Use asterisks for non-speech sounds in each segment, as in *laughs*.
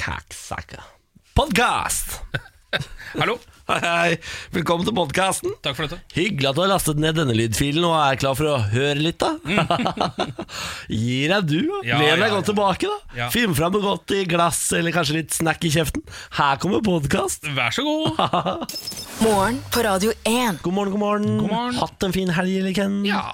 Kaksaka. *laughs* Podcast! Hallo, Hei, hei. Velkommen til podcasten. takk for dette. Hyggelig at du har lastet ned denne lydfilen og er klar for å høre litt, da. *laughs* Gi deg du, da. Mm. Ja, Len deg ja, godt ja. tilbake, da. Ja. Finn fram noe godt i glass, eller kanskje litt snack i kjeften. Her kommer podkast. Vær så god. Morgen på Radio 1. God morgen, god morgen. God morgen. Hatt en fin helg, eller, Ken? *laughs* Ja.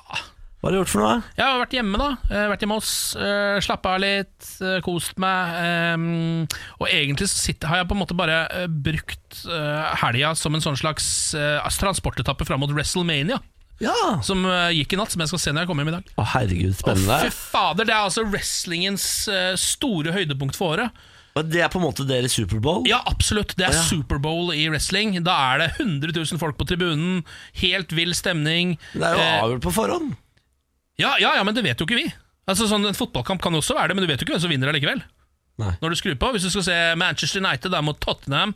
Hva har du gjort for noe? Jeg har vært hjemme, da. Eh, Vært hjemme hos. eh, Slappa av litt, eh, kost meg. ehm, og egentlig så sitter, har jeg på en måte bare eh, brukt eh, helga som en sånn slags eh, transportetappe fram mot WrestleMania. Ja. Å, Som eh, gikk i natt, som jeg skal se når jeg kommer hjem i dag. herregud, spennende. Fy fader, det er altså wrestlingens eh, store høydepunkt for året. Og det er på en måte deres Superbowl? Ja, absolutt. Det er Ja. Superbowl i wrestling. Da er det 100 000 folk på tribunen, helt vill stemning. Det er jo Eh, avgjort på forhånd. Ja, ja, ja, men det vet jo ikke vi. Altså, sånn, En fotballkamp kan også være det, men du vet jo ikke hvem som vinner allikevel. Nei. Når du skrur på, Hvis du skal se Manchester United der mot Tottenham,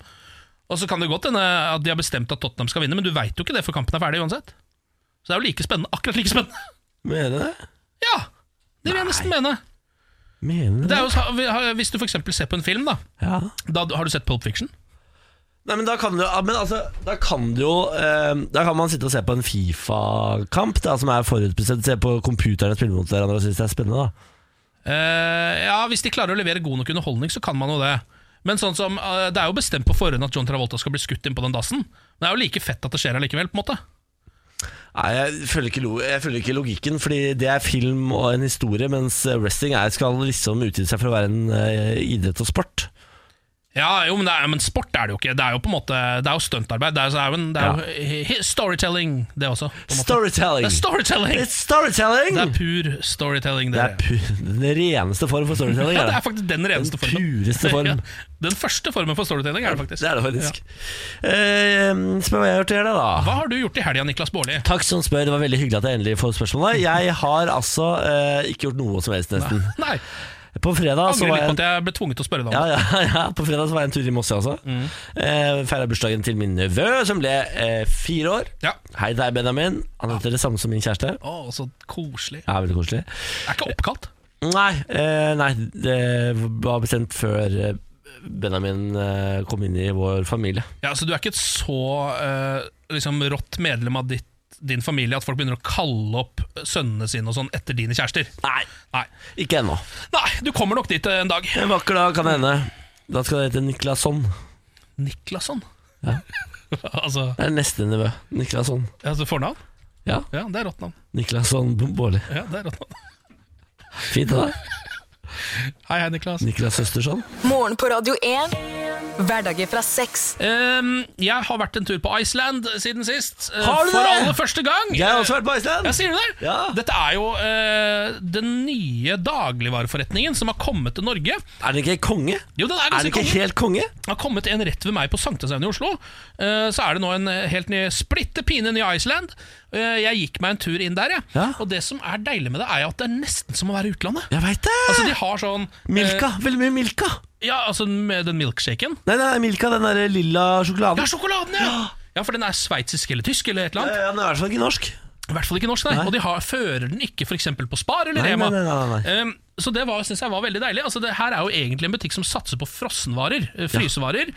og så kan det godt hende at de har bestemt at Tottenham skal vinne, men du veit jo ikke det før kampen er ferdig uansett. Så det er jo like spennende, akkurat like spennende. *laughs* Mener du det? Ja! Det vil jeg nesten mene. Mener du Det det? er jo, hvis du f.eks. ser på en film, da, Ja. da Har du sett Pulp Fiction? Nei, men da kan du, ja, men altså, da kan du jo eh, Da kan man sitte og se på en Fifa-kamp, da, som er forutbestemt. Se på computerne spille mot hverandre og synes det er spennende. da Eh, ja, Hvis de klarer å levere god nok underholdning, så kan man jo det. Men sånn som, eh, Det er jo bestemt på forhånd at John Travolta skal bli skutt inn på den dassen. Men det er jo like fett at det skjer allikevel. på en måte Nei, jeg følger, ikke lo jeg følger ikke logikken, Fordi det er film og en historie, mens eh, wrestling er, skal liksom utgi seg for å være en eh, idrett og sport. Ja, jo, men, det er, men sport er det jo ikke. Det er jo på en måte Det er jo stuntarbeid. Det er, så er jo en, det er jo he- he- storytelling, det også. På en måte. Storytelling! Det er storytelling! It's storytelling! Det er pur storytelling. Det Det, er pu- den reneste form for *laughs* storytelling. ja, det er er faktisk den reneste Den formen. pureste form. *laughs* Ja, den første formen for storytelling er det faktisk. Det er det faktisk. Eh, spør hva jeg har gjort i helga, da. Ja. Hva har du gjort i helga, *laughs* Niklas Baarli? Takk som spør, det var veldig hyggelig at jeg endelig får spørsmålet. Jeg har altså eh, ikke gjort noe som helst, nesten. Nei, På fredag så Angrer var litt Altså, jeg på en, at jeg ble tvunget til å spørre deg ja, om det. ja, *laughs* ja, på fredag så var jeg en tur i Moss, jeg også. Eh, Feira bursdagen til min nevø, som ble eh, fire år. Ja. Hei til deg, Benjamin. Han heter det samme som min kjæreste. Å, så koselig. Ja, veldig koselig. Er ikke oppkalt? Nei, eh, nei det var bestemt før eh, Benjamin eh, kom inn i vår familie. Ja, så Du er ikke et så eh, liksom, rått medlem av ditt, din familie at folk begynner å kalle opp sønnene sine og sånn etter dine kjærester? Nei, Nei. ikke ennå. Nei, du kommer nok dit eh, en dag. En vakker dag kan det hende. Da skal det hete Niklasson. Niklasson? Ja. *laughs* altså, Det er neste nevø. Niklasson. altså fornavn? Ja. Ja, det er rått navn. Niklasson Baarli. Ja, det er rått navn. Fint det der. Hei, hei, Niklas. Niklas Østersson. Morgen på Radio 1. Hverdager fra seks. Ehm, jeg har vært en tur på Iceland siden sist. eh, Har du for det? aller første gang. Jeg har også vært på Iceland. Ja, sier du det? Ja. Dette er jo eh, den nye dagligvareforretningen som har kommet til Norge. Er den ikke konge? Jo, den er Er den ganske ikke konge. helt konge? Det har kommet en rett ved meg på Sankthanshaugen i Oslo. Eh, så er det nå en eh, helt ny splitte pine ny Iceland. Eh, jeg gikk meg en tur inn der, jeg. Ja. Og det som er deilig med det, er jo at det er nesten som å være i utlandet. Jeg veit det! Altså, de har sånn eh, Milka. Veldig mye Milka. Ja, altså med den milkshaken. Nei, nei, Milka, den derre lilla sjokoladen. Ja, sjokoladen, ja! Ja, for den er sveitsisk eller tysk eller et eller Ja, annet. ja, den er i hvert fall ikke norsk. I hvert fall ikke norsk, nei. Og de har, fører den ikke f.eks. på Spar eller Nei, Rema. nei, nei, nei, Um, så det var, synes jeg var veldig deilig. Altså, det her er jo egentlig en butikk som satser på frossenvarer, eh, frysevarer.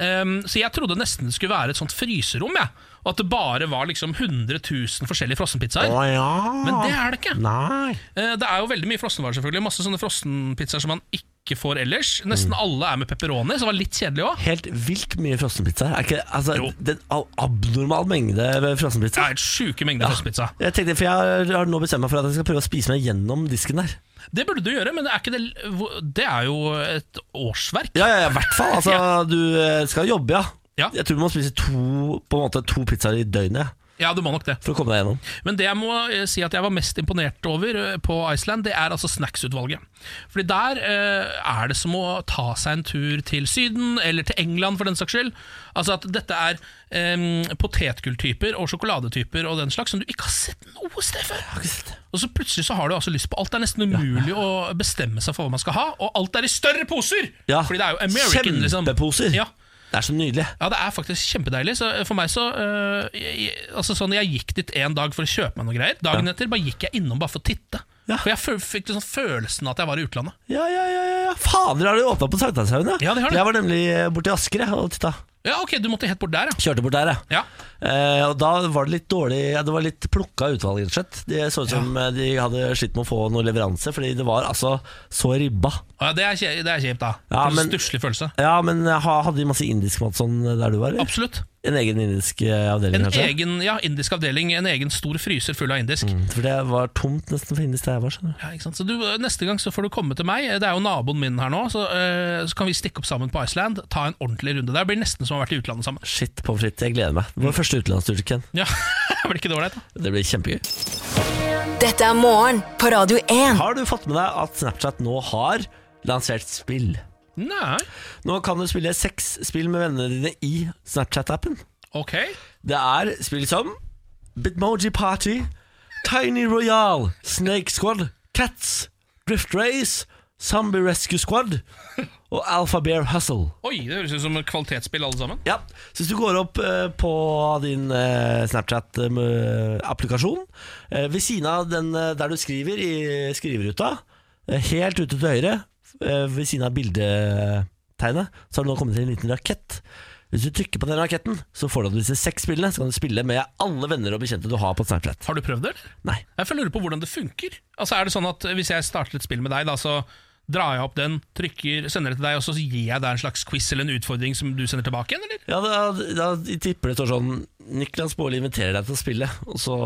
Um, så jeg trodde nesten det skulle være et sånt fryserom, jeg. Og at det bare var liksom 100 000 forskjellige frossenpizzaer. ja. Men det er det ikke. Nei. Eh, Det er jo veldig mye frossenvarer, selvfølgelig. Masse sånne frossenpizzaer som man ikke får ellers. Mm. Nesten alle er med pepperoni, så det var litt kjedelig òg. Helt vilt mye frossenpizza. Er ikke altså, Jo. den al- abnormal mengde Det frossenpizza? er et sjuke mengder frossenpizza. Jeg tenkte, for jeg har nå bestemt meg for at jeg skal prøve å spise meg gjennom disken der. Det burde du gjøre, men det er, ikke det, hvor- det er jo et årsverk. Ja, ja, ja, i hvert fall. Altså, du eh, skal jobbe, ja. Ja. Jeg tror du må spise to, på en måte, to pizzaer i døgnet. Ja, du må nok det. for å komme deg gjennom. Men det jeg må eh, si at jeg var mest imponert over eh, på Iceland, det er altså snacksutvalget. Fordi der eh, er det som å ta seg en tur til Syden, eller til England for den saks skyld. Altså at dette er em, potetgulltyper og sjokoladetyper og den slags som du ikke har sett noe sted før. Og så plutselig så har du altså lyst på alt. Det er nesten umulig å bestemme seg for hva man skal ha, og alt er i større poser! Ja. Fordi det er jo American, liksom. Kjempeposer! Ja. Det er så nydelig. Ja, det er faktisk kjempedeilig. Så eh, for meg så øh, jeg, jeg- Altså sånn, Jeg gikk dit en dag for å kjøpe meg noe greier. Dagen etter bare gikk jeg innom bare for å titte. Ja. For jeg fø- fikk liksom følelsen av at jeg var i utlandet. Ja, ja, ja, ja, ja. Fader, har du åpna på Sankthanshaugen? da? Ja, det har de. Jeg var nemlig eh, borti Asker jeg, og titta. Ja, ok, du måtte helt bort der, ja. Kjørte bort der, jeg. ja. Eh, og da var det litt dårlig ja, Det var litt plukka utvalg, rett og slett. Det så ut som eh, de hadde slitt med å få noe leveranse, fordi det var altså så ribba. Å, ja det, er kje, det er kjipt, da. Ja, En men- Stusslig følelse. Ja, men eh, ha- hadde de masse indisk mat sånn der du var? eller? Absolutt. En egen indisk eh, avdeling, En kanskje? egen ja, indisk avdeling, en egen stor fryser full av indisk. For det var tomt nesten for indisk der jeg var. skjønner du. Ja, ikke sant? Så du, Neste gang så får du komme til meg. Det er jo naboen min her nå. Så, øh, så kan vi stikke opp sammen på Iceland, ta en ordentlig runde der. Det blir nesten som å ha vært i utlandet sammen. Shit pommes frites, jeg gleder meg. Mm. Vår første utenlandstur, Ken. Ja, *laughs* Blir ikke det ålreit? da? Det blir kjempegøy. Dette er morgen på Radio 1. Har du fått med deg at Snapchat nå har lansert spill? Nei. Nå kan du spille seks spill med vennene dine i Snapchat-appen. Ok. Det er spill som Bitmoji Party, Tiny Royal, Snake Squad, Cats, Drift Race, Zombie Rescue Squad og Alpha Bear Hustle. Oi, det høres ut som et kvalitetsspill alle sammen. Ja, så Hvis du går opp eh, på din eh, Snapchat-applikasjon, eh, ved siden av den eh, der du skriver i skriveruta, eh, helt ute til høyre, eh, ved siden av bildetegnet, så har det nå kommet til en liten rakett. Hvis du trykker på den raketten, så får du disse seks spillene. Så kan du spille med alle venner og bekjente du har på Snapchat. Har du prøvd det? eller? Nei. Jeg får lure på hvordan det funker. Altså, er det sånn at Hvis jeg starter et spill med deg, da, så drar jeg opp den, trykker, sender det til deg, og så gir jeg deg en slags quiz eller en utfordring som du sender tilbake igjen, eller? Ja, da, da de tipper det står sånn Niklas Baarli inviterer deg til å spille, og så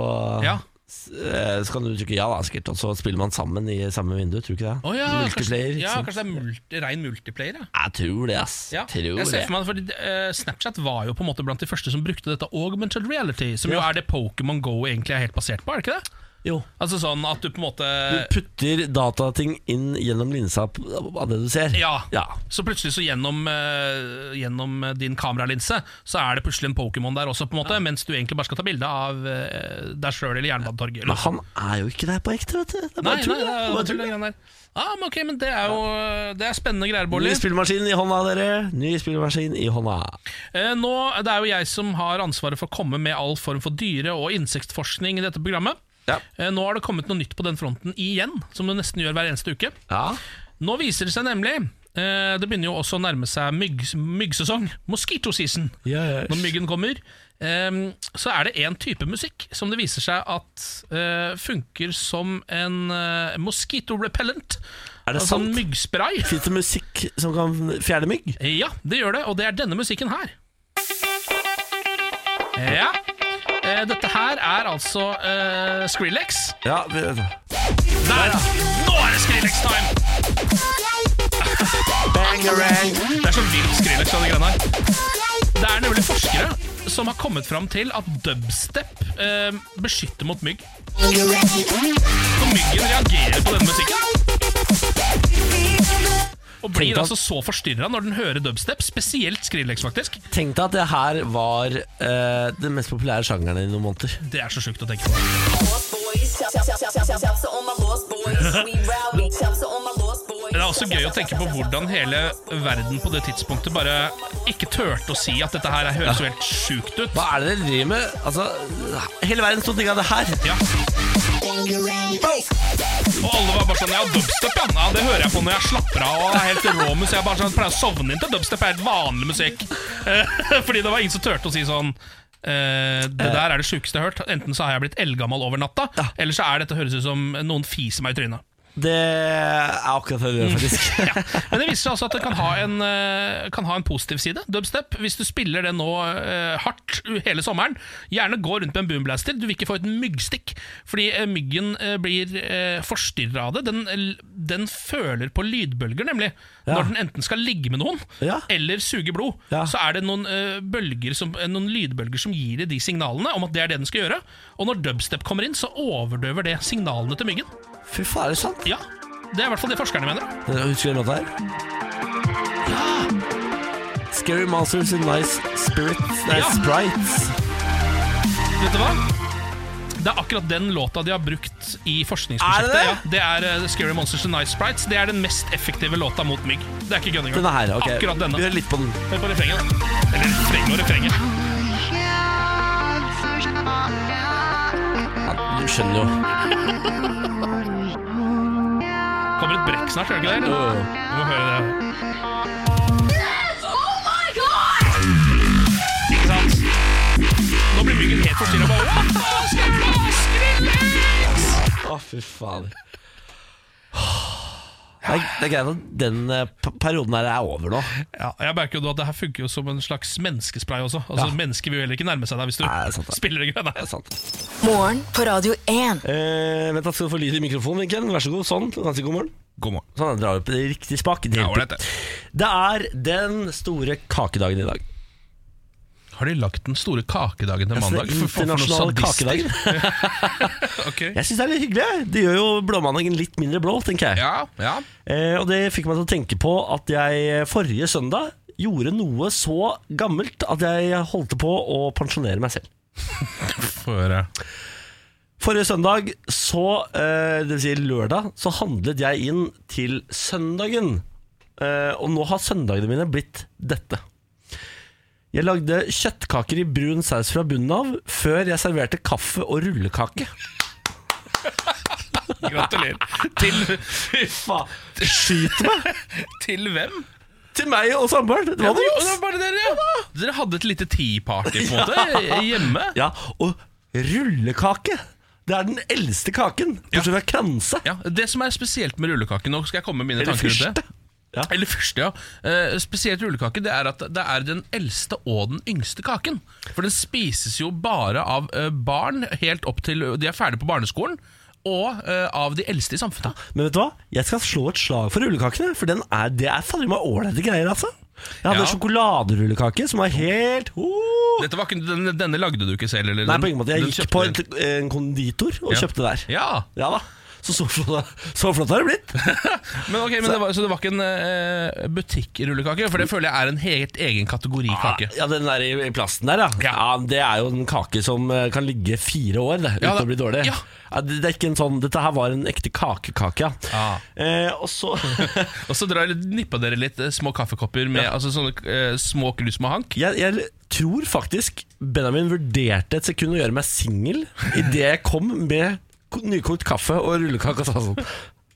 Ja. s- eh, Så kan du trykke ja, da, sikkert, og så spiller man sammen i samme vindu, tror du ikke det? Å ja, Multiplayer. Kanskje, ikke ja, sant? kanskje det er multi, rein multiplayer, ja. Jeg tror det, ass. ja. Tror jeg ser det. for meg, fordi eh, Snapchat var jo på en måte blant de første som brukte dette augmented reality, som jo Ja. er det Pokémon Go egentlig er helt basert på, er det ikke det? Jo. Altså sånn at du på en måte Du putter datating inn gjennom linsa p- av det du ser. Ja. Så plutselig så gjennom, eh, gjennom eh, din kameralinse Så er det plutselig en Pokémon der også, på en måte mens du egentlig bare skal ta bilde av eh, deg sjøl eller Jernbanetorget. Men Eller. han er jo ikke der på ekte, vet du. Det er Nei, bare nei, tull. nei, det. Det er nei, bare tull, det. nei, ah, men ok, men det er jo Det er spennende greier, Ny Bårdli. spillmaskin i hånda, dere. Ny spillmaskin i hånda. Eh, nå, det er jo jeg som har ansvaret for å komme med all form for dyre- og insektforskning i dette programmet. Ja. Eh, nå har det kommet noe nytt på den fronten igjen, som du nesten gjør hver eneste uke. ja. Nå viser det seg nemlig eh, Det begynner jo også å nærme seg mygg, myggsesong. Mosquito season. Yes. Når myggen kommer. ehm, så er det én type musikk som det viser seg at eh, funker som en eh, mosquito repellent. Er det altså en sant? myggspray. Fins det musikk som kan fjerne mygg? Ja, det gjør det, og det er denne musikken her. Ja. Eh, dette her er altså eh, Skrillex. Ja. vi- Der, ja! Nå er det Skrillex-time! Det er så vilt Skrillex av de greiene her. Det er nemlig forskere som har kommet fram til at dubstep eh, beskytter mot mygg. Så myggen reagerer på denne musikken. Og Tenk blir at- altså så forstyrra når den hører dubstep, spesielt Skrillex, faktisk. Tenk deg at det her var eh, den mest populære sjangeren i noen måneder. Det er så sjukt å tenke på. Det er også gøy å tenke på hvordan hele verden på det tidspunktet bare ikke turte å si at dette her høres jo helt sjukt ut. Hva er det dere driver med? Altså, hele verden sto digga det her. Ja. Og alle var bare sånn Ja, dubstep, ja. ja. Det hører jeg på når jeg slapper av og er helt rå musikk. Jeg bare sånn, pleier å sovne inn til dubstep. er helt vanlig musikk. Eh, *laughs* Fordi det var ingen som turte å si sånn eh, det der er det sjukeste jeg har hørt. Enten så har jeg blitt eldgammel over natta, eller så er dette høres ut som noen fiser meg i trynet. Det er akkurat det det gjør, faktisk. Ja. Men det viser seg altså at det kan ha, en, eh, kan ha en positiv side, dubstep. Hvis du spiller det nå eh, hardt u- hele sommeren, gjerne gå rundt med en boomblaster. Du vil ikke få et myggstikk, fordi eh, myggen eh, blir eh, forstyrra av det. Den, l- den føler på lydbølger, nemlig. Ja. Når den enten skal ligge med noen Ja. eller suge blod, Ja. så er det noen, eh, bølger som, eh, noen lydbølger som gir deg de signalene om at det er det den skal gjøre. Og når dubstep kommer inn, så overdøver det signalene til myggen. *laughs* Fy faen, er det sant? Ja, Det er i hvert fall det forskerne mener. da. Husker du den låta her? Scary Monsters in Nice Spirits Nei, Ja. Sprites. Vet du hva? Det er akkurat den låta de har brukt i Er det det? forskningsprosjektet. Det er, ja. det er eh, Scary Monsters and Nice Sprites. Det er den mest effektive låta mot mygg. Det er ikke gønning. Denne her, ok. Akkurat Vi denne. hører litt på den. Hør på refrenget. da. Eller refrenget og refrenget. Du skjønner jo. Kommer et brekk snart, gjør det ikke det? eller? Jo. Vi må høre det. Ikke sant? Nå blir myggen helt forstyrra. Å, fy fader. Det er, det er greit at den eh, p- perioden her er over nå. Ja, jeg merker jo da at det her funker jo som en slags menneskespray også. Altså, Ja. Mennesker vil jo heller ikke nærme seg deg hvis du Nei, det er sant, det. spiller det greiene Det her. er sant. Morgen på Radio 1. Eh, vent, da skal du få lyd i mikrofonen, Vinken. Vær så god. Sånn. Ganske god morgen. God morgen. Sånn, jeg drar opp i riktig spak. Det, Ja, hjelper. ålreit, det. det er den store kakedagen i dag. Har de lagt den store kakedagen til Ja, så det er mandag? For faen, for noen internasjonale sadister. kakedagen. *laughs* Ok. Jeg syns det er litt hyggelig. jeg. Det gjør jo blåmandagen litt mindre blå, tenker jeg. Ja, ja. Eh, og det fikk meg til å tenke på at jeg eh, forrige søndag gjorde noe så gammelt at jeg holdt på å pensjonere meg selv. Få høre. Forrige søndag, så, eh, det vil si lørdag, så handlet jeg inn til søndagen. Eh, og nå har søndagene mine blitt dette. Jeg lagde kjøttkaker i brun saus fra bunnen av, før jeg serverte kaffe og rullekake. Gratulerer. Til, Faen, skyt meg! til hvem? Til meg og samboeren. Det var det, Ja, Johs. var bare dere, ja. Dere hadde et lite tea-party på en måte hjemme. *laughs* Ja, og rullekake! Det er den eldste kaken, bortsett fra kranse. Ja, det som er spesielt med rullekake Nå skal jeg komme med mine Eller tanker rundt fyrste. det. Eller første, ja. Eh, spesielt rullekake det er at det er den eldste og den yngste kaken. For den spises jo bare av eh, barn helt opp til de er ferdige på barneskolen, og eh, av de eldste i samfunnet. Men vet du hva? Jeg skal slå et slag for rullekakene, for den er, det er fader meg ålreite greier, altså. Jeg hadde Ja. en sjokoladerullekake som var helt oh! Dette var ikke, denne, denne lagde du ikke selv? Eller Nei, den- på ingen måte. Jeg den gikk kjøpte på du. en, en konditor og Ja. kjøpte der. Ja, Ja da. Så så flott, så flott har det blitt. men, ok, men det var, Så det var ikke en eh, butikkrullekake? For det føler jeg er en helt egen kategori *laughs* kake. Ah, Ja, Den der i i plasten der, ja. ja. Det er jo en kake som eh, kan ligge fire år det, uten Ja, da- å bli dårlig. ja. det, det er ikke en sånn, Dette her var en ekte kakekake, ja. Ah. Eh, og så *laughs* Og så drar- nippa dere litt eh, små kaffekopper med altså sånne eh, små krus med hank. jeg, jeg tror faktisk Benjamin vurderte et sekund å gjøre meg singel idet jeg kom med ko- nykokt kaffe og rullekake og sa sånn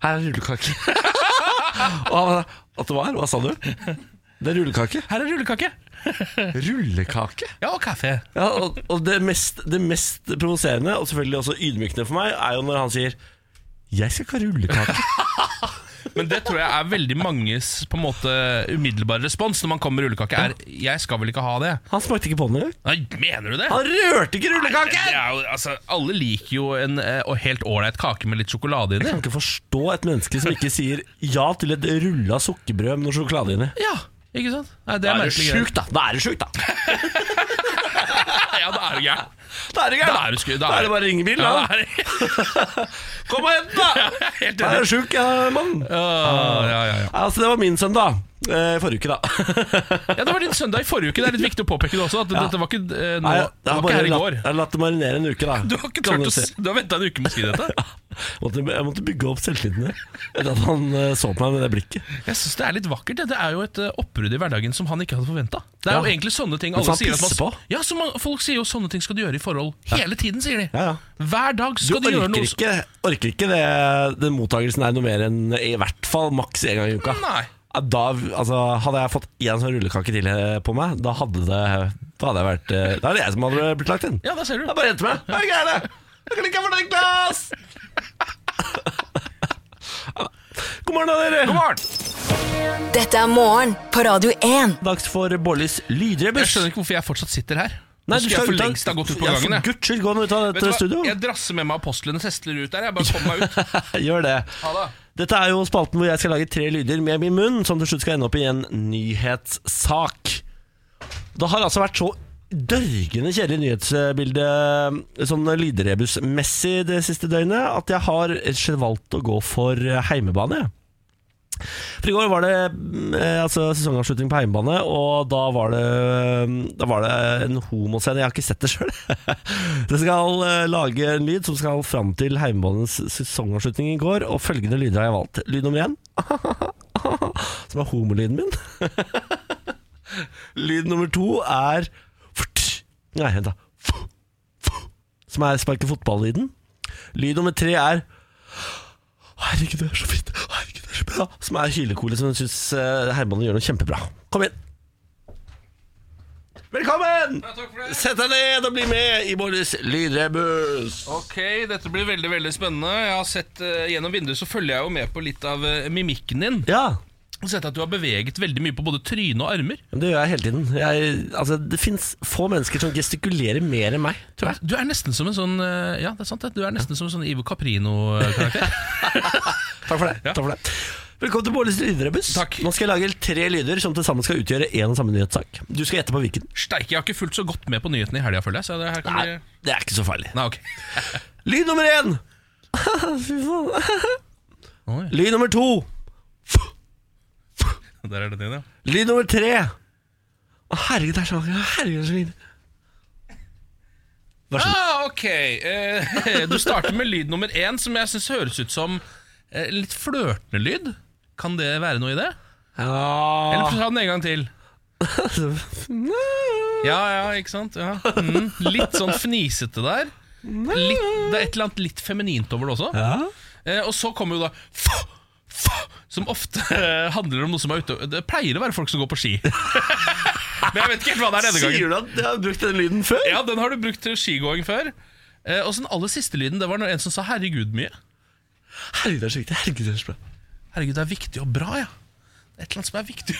Her er rullekake. *laughs* og han sa At det var? Hva sa du? Det er rullekake. Her er rullekake! Rullekake? Ja, og kaffe. Ja, og, og det mest, det mest provoserende, og selvfølgelig også ydmykende for meg, er jo når han sier jeg skal ikke ha *laughs* rullekake. Men det tror jeg er veldig manges på en måte umiddelbare respons når man kommer med rullekake, er 'jeg skal vel ikke ha det'. Han smakte ikke på den engang. Nei, mener du det? Han rørte ikke Det rullekaken! er jo, altså, alle liker jo en eh, og helt ålreit kake med litt sjokolade Jeg inni. kan ikke forstå et menneske som ikke sier ja til et rulla sukkerbrød med noe sjokolade inni. Ja, ikke sant? Nei, det er, merkelig greier. da. Da er du sjuk, da. Ja, da er du gæren. Da er du Da er du sku- da er- det bare å ringe bil, Ja, da. da *laughs* er du- Kom og hent den, da! Helt Da enig. er du sjuk, ja, mann. Nei, Åh, ja, ja, ja. Altså, det var min søndag. Eh, forrige uke, da. ja, Det var din søndag i forrige uke. Det er litt viktig å påpeke det også. At Dette var ikke, eh, nå, Nei, jeg, det har var ikke her i latt, går. jeg har latt det marinere en uke, da. Du har ikke Kan turt du å *laughs* se. si Du har venta en uke med å *laughs* si dette. måtte, Jeg måtte bygge opp selvtilliten der. Etter at han eh, så på meg med det blikket. Jeg syns det er litt vakkert. Det Det er jo et eh, oppbrudd i hverdagen som han ikke hadde forventa. Det Ja. er jo egentlig sånne ting Men alle som han sier at man, pisser på. Ja, som man, Folk sier jo sånne ting skal du gjøre i forhold. Hele tiden, sier de. Ja, ja. Hver dag Du skal du, gjøre orker noe som- ikke, orker ikke det, den mottagelsen er noe mer enn i hvert fall maks én gang i uka. Nei. Ja, Da, altså, hadde jeg fått én sånn rullekake til eh, på meg, da hadde det Da hadde jeg vært eh, Da er det jeg som hadde blitt lagt inn. Ja, der ser du. Jeg bare endte meg. Hva er gærent? Jeg kan ikke ha for deg glass! God morgen, da, dere! God morgen! Dette er morgen på Radio 1. Dags for Bollys Jeg lydrebuss. skjønner ikke hvorfor jeg fortsatt sitter her. Nå skulle jeg for lengst ha gått ut på Ja, gangen. For Jeg. guds skyld, gå nå ut av Vet du dette hva? studio. jeg drasser med meg apostlenes hestler ut der. Jeg bare kommer meg ut. *laughs* Gjør det. Ha det. Dette er jo spalten hvor jeg skal lage tre lyder med min munn, som til slutt skal ende opp i en nyhetssak. Det har altså vært så dørgende kjedelig nyhetsbilde sånn lydrebusmessig det siste døgnet at jeg har selv valgt å gå for heimebane. jeg. For i går var det mm, eh, altså, sesongavslutning på heimebane, og da var det, mm, da var det en homoscene. Jeg har ikke sett det sjøl. *laughs* det skal eh, lage en lyd som skal fram til heimebanens sesongavslutning i går, og følgende lyder har jeg valgt. Lyd nummer én, *laughs* som er homolyden min. *laughs* Lyd nummer to er Nei, vent da. Som er sparke fotball-lyden. Lyd nummer tre er Herregud, det er så fint. Herregud, det er så bra. Som er hylekoret som hun syns Herman gjør noe kjempebra. Kom inn. Velkommen! takk for det. Sett deg ned og bli med i Boris lydrebuss. Ok, Dette blir veldig veldig spennende. Jeg har sett eh, Gjennom vinduet så følger jeg jo med på litt av eh, mimikken din. Ja, Jeg har sett at Du har beveget veldig mye på både tryne og armer. men det gjør jeg hele tiden. Jeg, altså, det fins få mennesker som gestikulerer mer enn meg, tror jeg. Du er nesten som en sånn eh, Ja, det er sant det. Du er nesten som en sånn Ivo Caprino-karakter. *laughs* Takk for det. Ja. Takk for det. Velkommen til Boris lydrebuss. Takk. Nå skal jeg lage tre lyder som til sammen skal utgjøre én og samme nyhetssak. Du skal gjette på hvilken. Steike, jeg har ikke fulgt så godt med på nyhetene i helga, føler jeg. Så det her kan Nei, bli... det er ikke så farlig. Nei, ok *laughs* Lyd nummer én *laughs* Fy faen Oi. Lyd nummer to Der er det din, ja. Lyd nummer tre Å herregud, det er så Herregud, det er så fint Vær så god Ah, ok. Eh, *laughs* du starter med lyd nummer én, som jeg syns høres ut som eh, litt flørtende lyd. Kan det være noe i det? Ah. Eller ta den en gang til. Ja, ja, ikke sant? Ja. Mm. Litt sånn fnisete der. Litt, det er et eller annet litt feminint over det også. Eh, og så kommer jo da fa, fa, som ofte eh, handler om noe som er ute Det pleier å være folk som går på ski. *laughs* Men jeg vet ikke helt hva det er denne gangen. Sier du at jeg har brukt den lyden før? Ja, den har du brukt til skigåing før. Eh, og så den aller siste lyden, det var når en som sa 'herregud' mye. Herregud, det er så viktig Herregud, det er så bra Herregud, det er viktig og bra, ja. Det er Et eller annet som er viktig.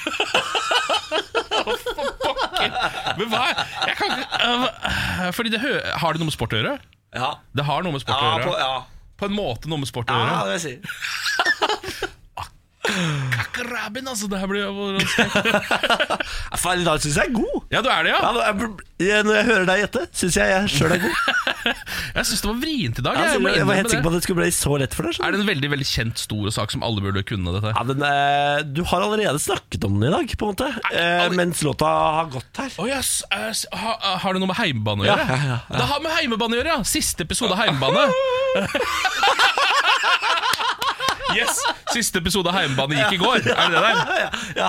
For pokker! *laughs* Men hva jeg kan, ikke- øh, Fordi det hø Har det noe med sport å gjøre? Ja Det har noe med sport å gjøre. På, ja en måte noe med sport å Ja, det vil gjøre. jeg si Grabben, altså! Det her blir jo Faen, i dag synes jeg er god Ja, du er det, ja, ja? når jeg, når jeg hører deg gjette, synes jeg jeg selv er god Jeg syns det var vrient i dag. Jeg, Jeg, altså, må jeg var innrømme helt sikker på det. at det skulle bli så lett for deg Er skjønner du? det en veldig veldig kjent, stor sak som alle burde kunne? dette her? Ja, men eh, du har allerede snakket om den i dag, på en måte eh, aldri- Mens låta har gått her Å ja, s- eh, s- ha, har det noe med heimebane å Ja, gjøre? ja, ja, Det har med heimebane å gjøre, ja! Siste episode av heimebane. *laughs* Yes! Siste episode av heimebane gikk i går. Er det det der? ja, ja.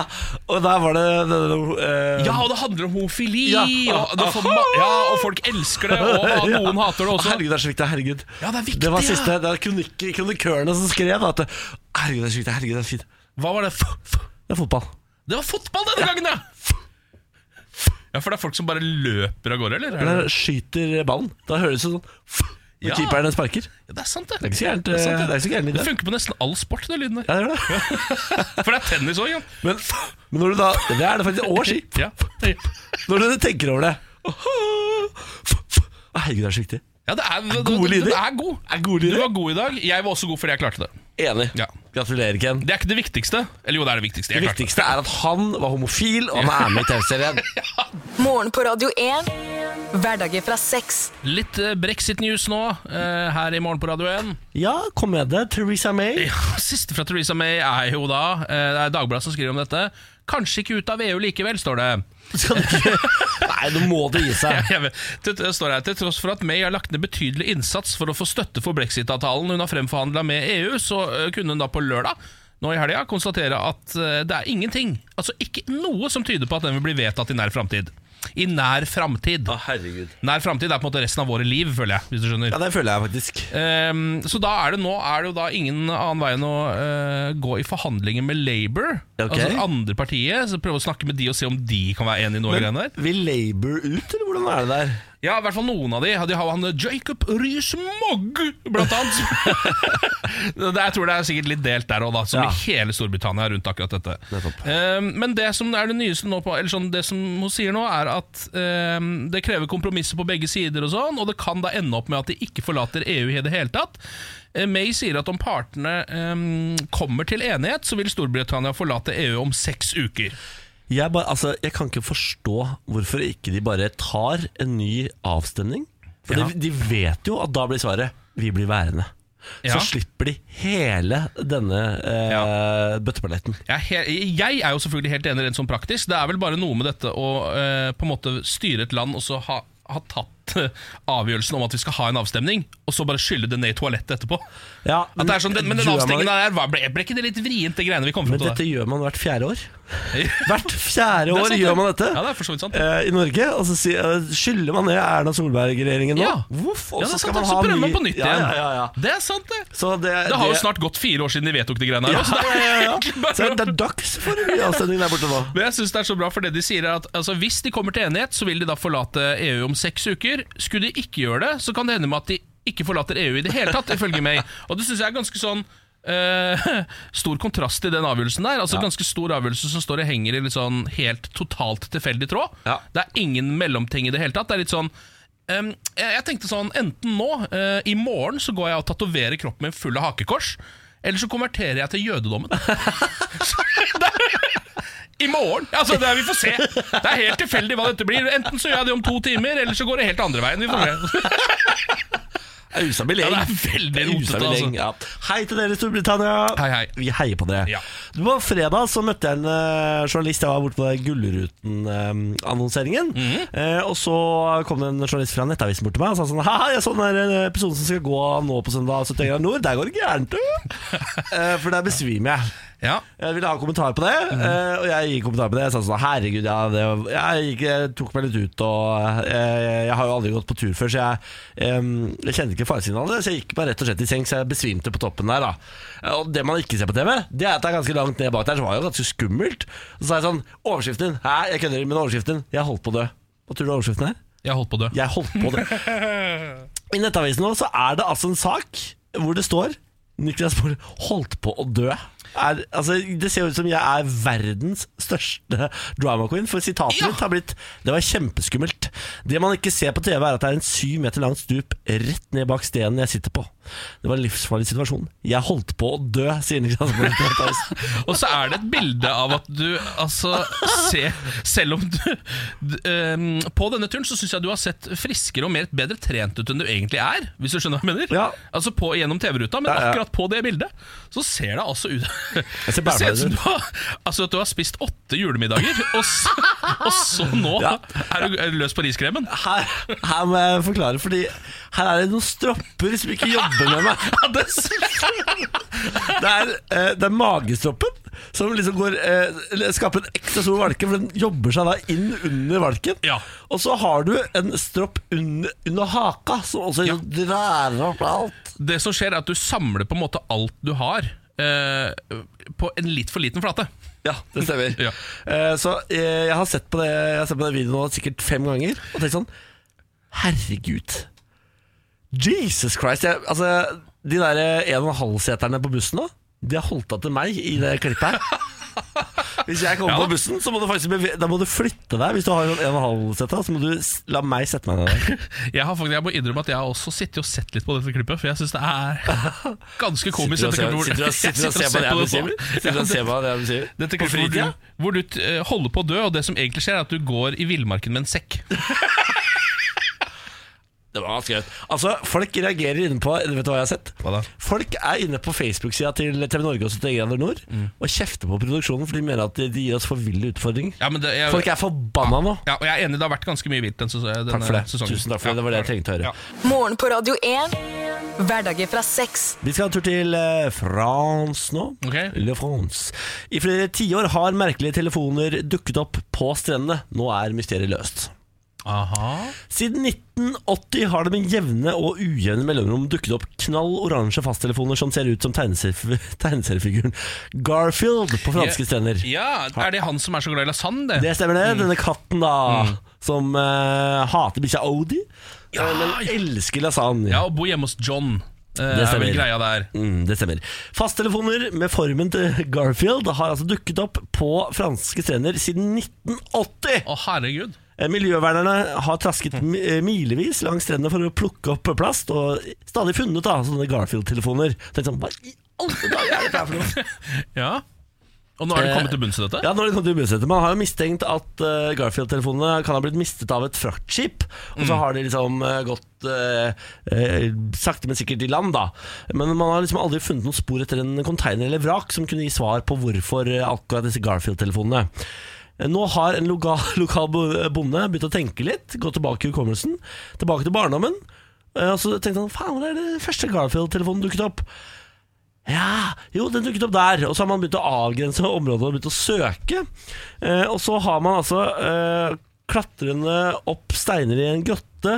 Og der var det, det, det, eh, Ja, og det handler om homofili, Ja. og, det får ma- ja, og folk elsker det, *laughs* og, og noen hater det også. Herregud, det er så viktig. Herregud. Ja, det er viktig, det var ja. siste, det er kronik kronikørene som skrev at Herregud, det er så viktig. Herregud, det er fint. Hva var det? F- f- Det er fotball. Det var fotball denne gangen, ja! Ja, For det er folk som bare løper av gårde, eller? Eller skyter ballen. Da høres det sånn når Ja. keeperen sparker. Ja, det er sant, Det er det. ikke så gærent. sant, eh, Det er ikke så gærent i Det det. funker på nesten all sport, den lyden der. Ja, det gjør det. For det er tennis òg, ja. Men, men når du da Det er det faktisk. Og *laughs* ski. Ja. Når du tenker over det Herregud, det er så viktig. Ja, det er, gode du- du- lyder. Du er god. Er gode Du lyder. var god i dag. Jeg var også god fordi jeg klarte det. Enig. Ja. Gratulerer, Ken. Det er ikke det viktigste. Eller jo, det er det viktigste. Jeg Det klarte det. viktigste er at han var homofil, og han er *laughs* med i TV-serien. Morgen på Radio 1. Hverdager fra seks. Litt eh, brexit-news nå, eh, her i morgen på Radio 1. Ja, kom med det. Theresa May. Ja, Siste fra Theresa May er jo da eh, Det er Dagbladet som skriver om dette. Kanskje ikke ut av EU likevel, står det. Skal du ikke *laughs* Nei, nå må det gi seg. *laughs* Jeg vet, det det står her Til tross for at May har lagt ned betydelig innsats for å få støtte for brexit-avtalen hun har fremforhandla med EU, så eh, kunne hun da på lørdag nå i helga konstatere at eh, det er ingenting, altså ikke noe som tyder på at den vil bli vedtatt i nær framtid. I nær framtid. Nær framtid er på en måte resten av våre liv, føler jeg. hvis du skjønner Ja, det føler jeg faktisk. Ehm, Så da er det nå Er det jo da ingen annen vei enn å eh, gå i forhandlinger med Labour. Ok. Altså det andre partiet. Så prøve å snakke med de og se om de kan være enige i noe. greier der Vil Labour ut, eller hvordan er det der? Ja, i hvert fall noen av de. De har han Jacob Riis-Mogg, blant *laughs* annet. det, jeg tror det er sikkert litt delt der òg, som Ja. i hele Storbritannia rundt akkurat dette. Nettopp. Eh, men det som er det nyeste nå, på, eller sånn, det som hun sier nå, er at eh, det krever kompromisser på begge sider, og sånn, og det kan da ende opp med at de ikke forlater EU i det hele tatt. Eh, May sier at om partene eh, kommer til enighet, så vil Storbritannia forlate EU om seks uker. Jeg, bare, altså, jeg kan ikke forstå hvorfor ikke de bare tar en ny avstemning. For Ja. de, de vet jo at da blir svaret 'vi blir værende'. Ja. Så slipper de hele denne eh, bøtteballetten. Jeg er, he- jeg er jo selvfølgelig helt enig rent sånn praktisk. Det er vel bare noe med dette å eh, på en måte styre et land og så ha, ha tatt eh, avgjørelsen om at vi skal ha en avstemning, og så bare skylle det ned i toalettet etterpå. Ja, At det er sånn, den, men den gjør man avstemningen ikke- der, var- ble, ble ikke det litt vrient, det greiene vi kom Men fram til dette der? gjør man hvert fjerde *laughs* år. Det er Hvert fjerde år sant, gjør man dette. Ja, det er for så vidt sant. eh, I Norge, og så si, eh, skylder man ned Erna Solberg-regjeringen nå. Ja. Voff, og Ja, det så er skal sant, man så ha prøver ny- man på nytt ja, igjen. Ja, ja, ja. Det er sant, det. Så det, Det har jo det- snart gått fire år siden de vedtok de greiene her. *laughs* ja, *laughs* også, så *laughs* det er ja, ja, ja. egentlig bare Så å- det er dags for en ny avstemning der borte nå. Men jeg synes det er så bra, for det de sier er at altså, Hvis de kommer til enighet, så vil de da forlate EU om seks uker. Skulle de ikke gjøre det, så kan det hende med at de ikke forlater EU i det hele tatt, ifølge meg. Og det synes jeg er ganske sånn eh, stor kontrast til den avgjørelsen der. Altså Ganske stor avgjørelse som står og henger i litt sånn helt totalt tilfeldig tråd. Ja. Det er ingen mellomting i det hele tatt. Det er litt sånn Ehm, jeg, jeg tenkte sånn, enten nå, eh, i morgen så går jeg og tatoverer kroppen min full av hakekors, eller så konverterer jeg til jødedommen. Så det- I morgen! Altså, det er, vi får se. Det er helt tilfeldig hva dette blir. Enten så gjør jeg det om to timer, eller så går det helt andre veien. Vi får se. Ustabil gjeng. Ja, det er veldig rotete, Ustabil altså. gjeng, ja. Hei til dere, Storbritannia. Hei, hei. Vi heier på dere. Ja. Du, På fredag så møtte jeg en eh, journalist. Jeg var borte på den Gullruten-annonseringen. Mhm. Eh, og så kom det en journalist fra Nettavisen bort til meg og sa sånn Haha, jeg så den der eh, episoden som skal gå nå på søndag 71 grader nord. Der går det gærent, du! *laughs* Eh, for der besvimer jeg. Ja. Jeg ville ha kommentar på det, eh, og jeg gir kommentar på det. Jeg sa sånn Herregud, ja, det, jeg, gikk, jeg tok meg litt ut, og eh, jeg har jo aldri gått på tur før, så jeg, em, jeg kjente ikke faresignalene. Så jeg gikk meg rett og slett i seng, så jeg besvimte på toppen der. da Og det man ikke ser på TV, det er at det er ganske langt ned bak der, så det var jo ganske skummelt. Og så sa jeg sånn Overskriften din. Hæ, jeg kødder, men overskriften Jeg holdt på å dø. Hva tror du overskriften er? Jeg holdt på å dø. *laughs* Jeg holdt på å dø. I Nettavisen nå så er det altså en sak hvor det står Niklas Baarli holdt på å dø. Er, altså, det ser ut som jeg er verdens største drama queen, for sitatet Ja. mitt har blitt Det var kjempeskummelt. Det man ikke ser på TV, er at det er en syv meter langt stup rett ned bak stenen jeg sitter på. Det var en livsfarlig situasjon. Jeg holdt på å dø, sier Niklas Baarli til Nettavisen. Og så er det et bilde av at du altså ser Selv om du, d, ehm, På denne turen så syns jeg du har sett friskere og mer bedre trent ut enn du egentlig er. Hvis du skjønner hva jeg mener? Ja. Altså på, Gjennom TV-ruta, men Ja, ja. akkurat på det bildet så ser det altså ut *laughs* ser Det ser ut bærbærer ut. som du har, altså at du har spist åtte julemiddager, og *laughs* så, og så nå Ja. er du er du løs på riskremen. Her, her må jeg forklare, Fordi her er det noen stropper som ikke jobber med meg. *laughs* Ja, det ser- Det er, eh, det er magestroppen som liksom går, eh, eller skaper en ekstra stor valke, for den jobber seg da inn under valken. Ja. Og så har du en stropp under, under haka, som også drar opp alt. Det som skjer, er at du samler på en måte alt du har, eh, på en litt for liten flate. Ja, det stemmer. *laughs* Ja. Eh, så eh, jeg har sett på det Jeg har sett på den videoen nå sikkert fem ganger og tenkt sånn Herregud. Jesus Christ. Jeg, altså, de der eh, en og en halv seterne på bussen nå, de har holdt av til meg i det klippet *laughs* her. Hvis jeg kommer Ja. på bussen, så må du faktisk beve da må du flytte deg. Hvis du har en en og en halv seter, så må du s- la meg sette meg ned der. Jeg har faktisk, jeg må innrømme at jeg har også sittet og sett litt på dette klippet, for jeg syns det er *laughs* ganske komisk. dette klippet hvor- *laughs* Jeg sitter og ser på det. Dette klippet hvor du, hvor du eh, holder på å dø, og det som egentlig skjer, er at du går i villmarken med en sekk. Det var ganske gøy. Altså, folk reagerer inne på Vet du hva jeg har sett? Hva da? Folk er inne på Facebook-sida til TV Norge og 71 grader nord Mm. og kjefter på produksjonen, for de mener at de gir oss for ville utfordringer. Ja, men det, jeg, Folk er forbanna nå. ja, og jeg er enig, det har vært ganske mye vilt denne sesongen. Takk for det. Tusen takk for det. Det var det jeg trengte å høre. Ja. Morgen på Radio 1. Hverdager fra seks. Vi skal en tur til eh, France nå. Ok. Le France. I flere tiår har merkelige telefoner dukket opp på strendene. Nå er mysteriet løst. Aha. Siden 1980 har det med jevne og ujevne mellomrom dukket opp knall oransje fasttelefoner som ser ut som tegneserie- *laughs* tegneseriefiguren Garfield på franske strender. Ja, Er det han som er så glad i lasagne, det? Mm. Det stemmer det. Denne katten, da. som eh, hater bikkja Odie, Ja. eh, men elsker lasagne. Ja, og bo hjemme hos John. Eh, Det det er stemmer. vel greia der. Mm, det stemmer. Fasttelefoner med formen til Garfield har altså dukket opp på franske strender siden 1980. Å, herregud. Eh, Miljøvernerne har trasket mi- eh, milevis langs strendene for å plukke opp plast, og stadig funnet da, sånne Garfield-telefoner. Tenkte sånn, hva i alle dager er dette her for noe? Ja. Og nå er det Eh, kommet til bunns i dette? Ja, når det kom til ubestedet Man har jo mistenkt at eh, Garfield-telefonene kan ha blitt mistet av et fraktskip Og så har de liksom eh, gått eh, eh, sakte men sikkert i land da Men man har liksom aldri funnet noen spor etter en konteiner eller vrak Som kunne gi svar på hvorfor eh, akkurat disse Garfield-telefonene Eh, nå har en loka, *laughs* lokal bo- bonde begynt å tenke litt Gå tilbake i hukommelsen Tilbake til barndommen Eh, Og så tenkte han, faen, det er det første Garfield-telefonen dukket opp ja, jo, den dukket opp der, og så har man begynt å avgrense området og begynt å søke. Eh, og så har man altså eh, klatrende opp steiner i en grotte,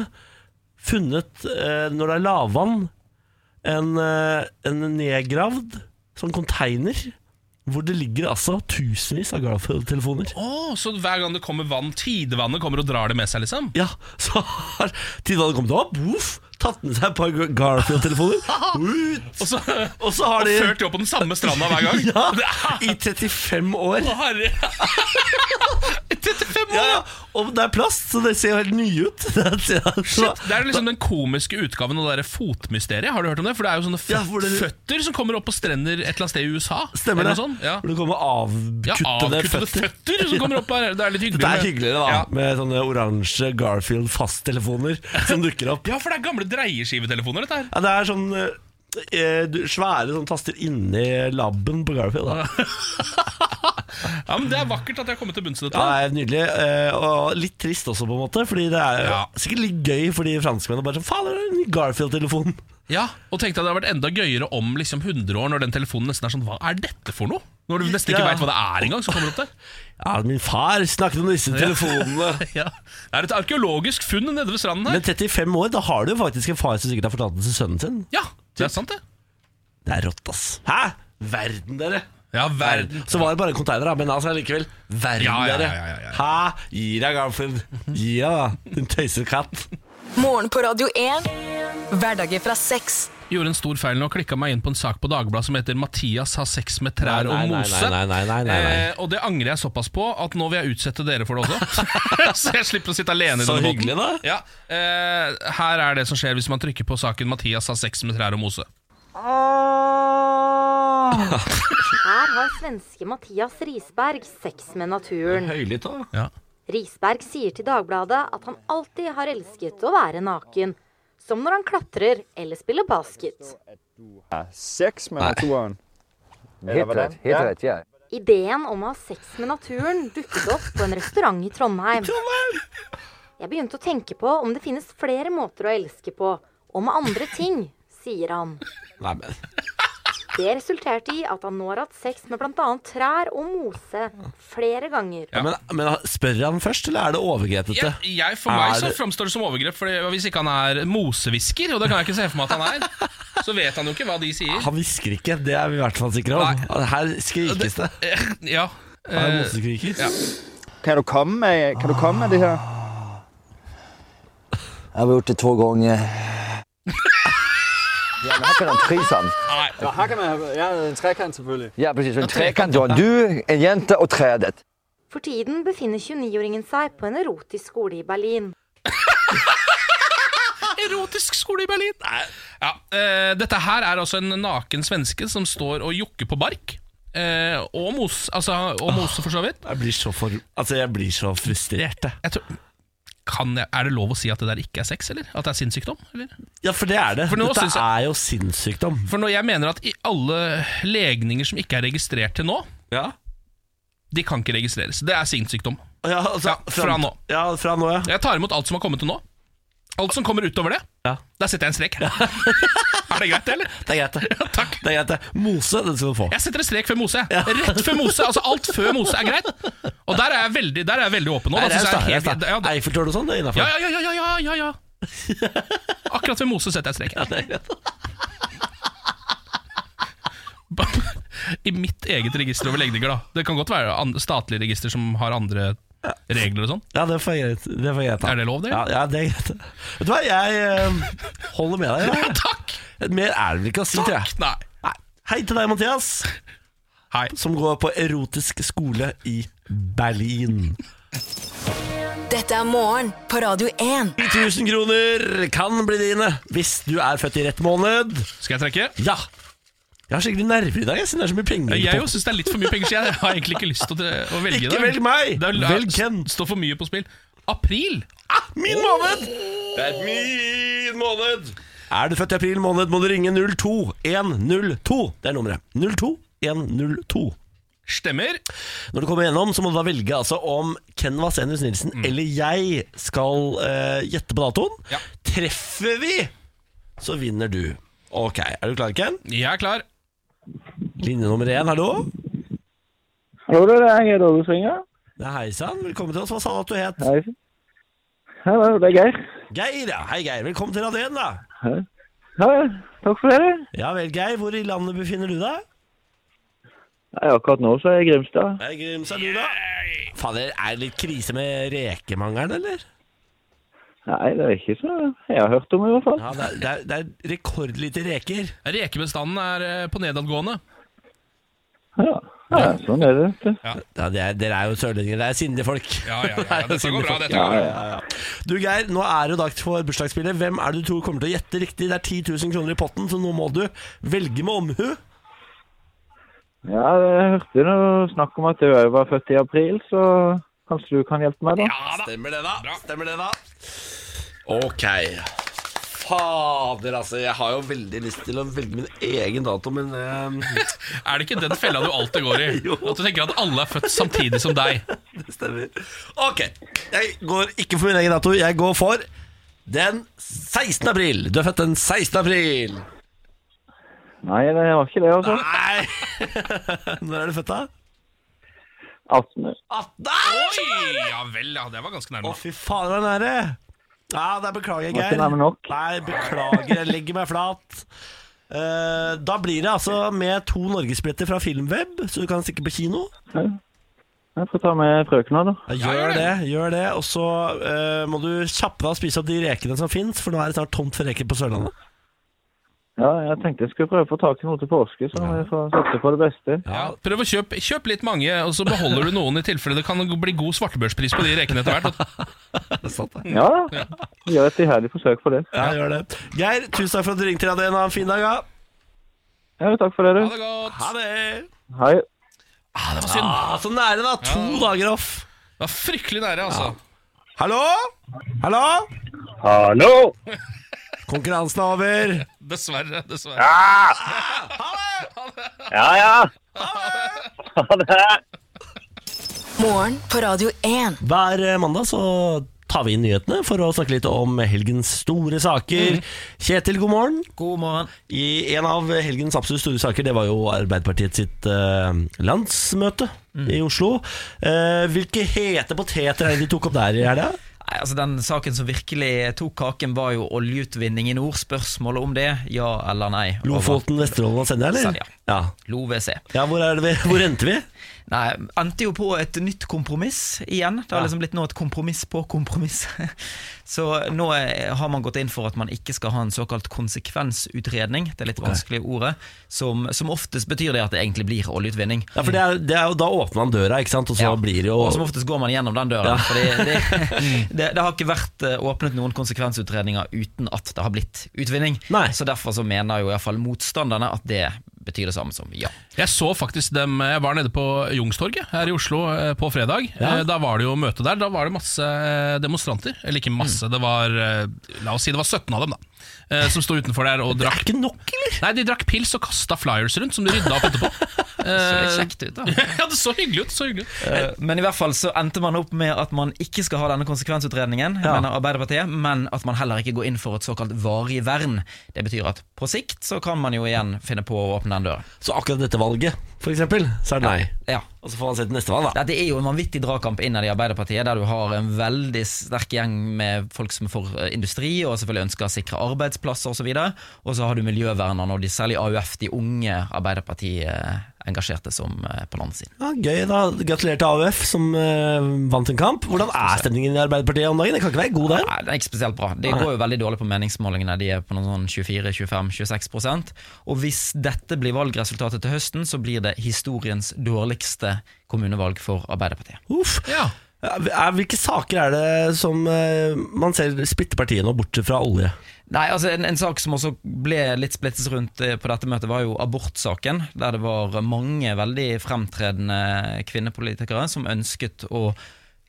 funnet, eh, når det er lavvann, en, eh, en nedgravd sånn container, hvor det ligger altså tusenvis av Garfield-telefoner. Å, så hver gang det kommer vann, tidevannet kommer og drar det med seg, liksom? Ja, så har Tidvannet kommet opp, voff, tatt med seg et par Garfield-telefoner, ut, *laughs* Og så og og så har de... ført de opp på den samme stranda hver gang? *laughs* Ja, Det er- i 35 år. Å, herre 35 år! Ja, ja. Og det er plast, så det ser jo helt nye ut. *laughs* Shit, Det er liksom den komiske utgaven av det der fotmysteriet. Har du hørt om det? For det er jo sånne føt Ja, hvor det- føtter som kommer opp på strender et eller annet sted i USA. Stemmer eller det? noe sånt. Ja. Hvor du kommer Ja, avkuttede avkuttede føtter. føtter. som kommer opp her. Det er litt hyggelig. Det er med- hyggeligere, da. Ja. Med sånne oransje Garfield fasttelefoner som dukker opp. Ja, for det er gamle dreieskivetelefoner, dette her. Ja, det er sånn eh, du- svære sånn taster inni labben på Garfield. Da. Ja, men Det er vakkert at jeg har kommet til bunns i dette. Ja, det er Nydelig. eh, Og litt trist også, på en måte. Fordi det er Ja. sikkert litt gøy for de franskmennene. Bare sånn, faen, det er en ny Garfield-telefon. Ja, Og tenkte jeg det hadde vært enda gøyere om liksom 100 år, når den telefonen nesten er sånn Hva er dette for noe? Når du nesten ikke Ja. vet hva det er engang, som kommer opp der. *laughs* Ja, min far snakket om disse *laughs* telefonene. Ja. Det er et arkeologisk funn nede ved stranden her. Men 35 år, da har du jo faktisk en far som sikkert har fortalt det til sønnen sin. Ja, det er sant, det. Det er rått, ass. Hæ? Verden, dere. Ja, verden. Så var det bare en container, da, men altså likevel. Verden, Ja, ja, ja, dere. ja, ja, ja. Hæ? Gi deg, Garfield. Gi deg, da. Din tøysekatt. Morgen på Radio 1. Hverdager fra seks. gjorde en stor feil nå og klikka meg inn på en sak på Dagbladet som heter 'Mathias har sex med trær Nei, nei, og nei, mose'. nei, nei, nei, nei, nei. Eh, og det angrer jeg såpass på at nå vil jeg utsette dere for *laughs* det også. *laughs* så jeg slipper å sitte alene i Så denne båten. hyggelig, da. Ja, eh, her er det som skjer hvis man trykker på saken 'Mathias har sex med trær og mose'. Her har svenske Mathias Risberg sex med naturen. Høylytt òg. Ja. Risberg sier til Dagbladet at han alltid har elsket å være naken. Som når han klatrer eller spiller basket. sex med naturen. Helt rätt, helt rätt ja. Ideen om å ha sex med naturen dukket opp på en restaurant i Trondheim. Jeg begynte å tenke på om det finnes flere måter å elske på, og med andre ting, sier han. Nei, men Det resulterte i at han nå har hatt sex med bl.a. trær og mose flere ganger. Ja, men, men spør han først, eller er det overgrepete? Jeg, jeg, for meg Er så det- framstår det som overgrep, for hvis ikke han er mosehvisker, og det kan jeg ikke se for meg at han er, så vet han jo ikke hva de sier. Han hvisker ikke, det er vi i hvert fall sikre om. Her skrikes det. Eh, Ja, Her er eh, mosekriker. ja. Kan du komme med, kan du komme med det her? Jag har gjort det två gånger. Ja, men här kan de trisan. Ja, her kan man have, ja, en trekant selvfølgelig. Ja, precis. En trekant John. Du, en jente och trädet. For tiden befinner 29-åringen seg på en erotisk skole i Berlin. Erotisk skole i Berlin. Ja, eh, dette her er altså en naken svenske som står og jokker på bark. Eh, og mos, altså, og mose, for så vidt. Jeg blir så, for, altså, jeg blir så frustrert, jeg. Jeg tror, kan jeg, er det lov å si at det der ikke er sex, eller? At det er sinnssykdom? Eller? Ja, for det er det. For nå Dette synes jeg- er jo sinnssykdom. For når jeg mener at i alle legninger som ikke er registrert til nå, Ja. de kan ikke registreres. Det er sinnssykdom. Ja, altså, Ja, fra fram- nå. Ja, fra nå, ja. Jeg tar imot alt som har kommet til nå. Alt som kommer utover det, Ja. der setter jeg en strek. *laughs* er det greit, det, eller? Det er greit, det. Ja, takk. Det er greit, det. Mose, den skal du få. Jeg setter en strek før Mose. Rett før Mose, altså Alt før Mose er greit. Og der er jeg veldig, der er jeg veldig åpen nå. Nei, Da det er synes jo jeg er sterkt, helt- da. ja, det- Eiffeltårn og sånn, det er innafor. ja, ja, ja, ja, ja, ja, ja. *laughs* Akkurat ved Mose setter jeg strek. *laughs* I mitt eget register over legninger, da. Det kan godt være an- statlige register som har andre regler og sånn. Ja, det får jeg greit. Det får jeg greit da. Er det lov, det? Ja, ja, det er greit. Vet du hva, jeg eh, holder med deg. jeg. Takk! Mer er det vel ikke å si, tror jeg. Takk! Nei. Nei. Hei til deg, Mathias, Hei. som går på erotisk skole i Berlin. *laughs* Dette er morgen på Radio 1. 1000 kroner kan bli dine hvis du er født i rett måned. Skal jeg trekke? Ja. Jeg har skikkelig nerver i dag, jeg, siden det er så mye penger. Jeg på. jo syns det er litt for mye penger, så jeg har egentlig ikke lyst til å, å velge Ikke det. velg meg! Det er, Velg Ken. Står for mye på spill. April! Ah, min måned! Det er min måned! Er du født i april måned, må du ringe 02102. Det er nummeret. 02102. Stemmer. Når du kommer gjennom, så må du da velge altså, om Ken Vasenius Nilsen eller jeg skal eh, gjette på datoen. Ja. Treffer vi, så vinner du. Ok, Er du klar, Ken? Jeg er klar. Linje nummer én, hallo? Hallo, det er Geir Ågesvinger. Det er Hei sann, velkommen til oss. Hva sa du at du het? Hei. Hallo, det er Geir. Geir, ja. Hei, Geir. Velkommen til radioen, da. Hei, takk for det. Ja vel, Geir. Hvor i landet befinner du deg? Nei, akkurat nå så er jeg i Grimstad. Hei, Grims, er du, da? Fader, er det litt krise med rekemangelen, eller? Nei, det er ikke så jeg har hørt om i hvert fall. Ja, det er, det er, det er rekordlite reker. Rekebestanden er eh, på nedadgående. Ja, ja sånn er det. Ja, det er, dere er jo sørlendinger. Det er sindige folk. Ja, ja, *laughs* ja, dette går bra, dette Ja, går bra. ja. Du Geir, nå er det jo dag for bursdagsspillet. Hvem er det du tror kommer til å gjette riktig? Det er 10 000 kroner i potten, så nå må du velge med omhu. Ja, jeg hørte noe snakk om at jeg var født i april, så kanskje du kan hjelpe meg da? Ja da. Stemmer det, da. Stemmer det, da. Ok. Fader, altså. Jeg har jo veldig lyst til å velge min egen dato, men eh, Er det ikke den fella du alltid går i? *laughs* Jo. At du tenker at alle er født samtidig som deg. det stemmer. Ok. Jeg går ikke for min egen dato. Jeg går for den 16. april. Du er født den 16. april. Nei, det var ikke det, altså. Nei! *laughs* Når er du født, da? 18. 18. Nei! Oi, ja vel, ja. Det var ganske Å, nærme. fy fader, den er det! Ja, der beklager jeg, Var Geir. ikke nærme nok. Nei, beklager. Jeg legger meg flat. Eh, da blir det altså med to norgesbilletter fra Filmweb, så du kan stikke på kino. Jeg får ta med frøkene da. Ja, gjør gjør det, gjør det. Og så eh, må du kjappe deg og spise opp de rekene som fins, for nå er det snart tomt for reker på Sørlandet. Ja, jeg tenkte jeg skulle prøve å få tak i noe til påske, så jeg får satse på det beste. Ja, prøv å kjøpe kjøp litt mange, og så beholder du noen i tilfelle det kan bli god svartebørspris på de rekene etter *laughs* hvert. Ja, gjør et iherdig forsøk på det. Ja, gjør det. Geir, tusen takk for at du ringte. Radio 1. Ha en fin dag, ja. Ja, takk for det, Ha du. det godt. Ha det! Hei. Ah, det var synd. Ah, så nære, da. To dager off. Det var fryktelig nære, altså. Hallo? Hallo? Hallo! Konkurransen er over. Dessverre. dessverre. Ja, ja. Ha det. Morgen på Radio 1. Hver eh, mandag så tar vi inn nyhetene for å snakke litt om helgens store saker. Kjetil, god morgen. God morgen. I en av helgens absolutt store saker, det var jo Arbeiderpartiet sitt eh, landsmøte i Oslo. Eh, hvilke hete poteter er det de tok opp der i helga? Nei, altså Den saken som virkelig tok kaken, var jo oljeutvinning i nord. Spørsmålet om det, ja eller nei. Lofoten, Vesterålen og Senja, eller? Senja. Ja. LOVC. ja hvor, er det vi, *laughs* hvor endte vi? Nei, endte jo på et nytt kompromiss igjen. Det har Ja. liksom blitt nå et kompromiss på kompromiss. *laughs* Så nå eh, har man gått inn for at man ikke skal ha en såkalt konsekvensutredning. Det er litt vanskelig ordet. Som, som oftest betyr det at det egentlig blir oljeutvinning. Ja, for det er, det er, jo- Da åpner man døra, ikke sant? og så Ja. blir det jo Og som oftest går man gjennom den døra. Fordi det, *laughs* det, det har ikke vært eh, åpnet noen konsekvensutredninger uten at det har blitt utvinning. Nei. Så derfor så mener jo iallfall motstanderne at det betyr det samme som ja. Jeg så faktisk dem Jeg var nede på Jungstorget her i Oslo eh, på fredag. Ja. Eh, Da var det jo møte der. Da var det masse eh, demonstranter. Eller ikke masse, Mm. det var eh, La oss si det var 17 av dem, da. eh, Som sto utenfor der og Det er drakk ikke nok, eller? Nei, de drakk pils og kasta flyers rundt, som de rydda opp etterpå. Så *laughs* det Eh, er kjekt ut, da. *laughs* ja, det så hyggelig ut. Så hyggelig ut. Eh, Men i hvert fall så endte man opp med at man ikke skal ha denne konsekvensutredningen, Ja. mener Arbeiderpartiet, men at man heller ikke går inn for et såkalt varig vern. Det betyr at på sikt så kan man jo igjen finne på å åpne den døra. Så akkurat dette valget, for eksempel, så er det nei. Ja. Og så får man se til neste valg, da. Dette er jo en vanvittig dragkamp innad i Arbeiderpartiet, der du har eh, en veldig sterk gjeng med folk som er for eh, industri, og selvfølgelig ønsker å sikre arbeidsplasser osv. Og så videre. Og så har du miljøvernerne og de, særlig AUF, de unge Arbeiderparti- eh, engasjerte som eh, på landet sin. Ja, gøy da, Gratulerer til AUF som eh, vant en kamp. Hvordan er stemningen i Arbeiderpartiet om dagen? Det kan ikke være god der? Nei, det er ikke spesielt bra. Det går jo veldig dårlig på meningsmålingene. De er på noen sånn 24-25-26 Og hvis dette blir valgresultatet til høsten, så blir det historiens dårligste kommunevalg for Arbeiderpartiet. Uff. Ja. Er, hvilke saker er det som eh, man ser splitter partiet nå, bortsett fra olje? Nei, altså en, en sak som også ble litt splittet rundt eh, på dette møtet, var jo abortsaken. Der det var mange veldig fremtredende kvinnepolitikere som ønsket å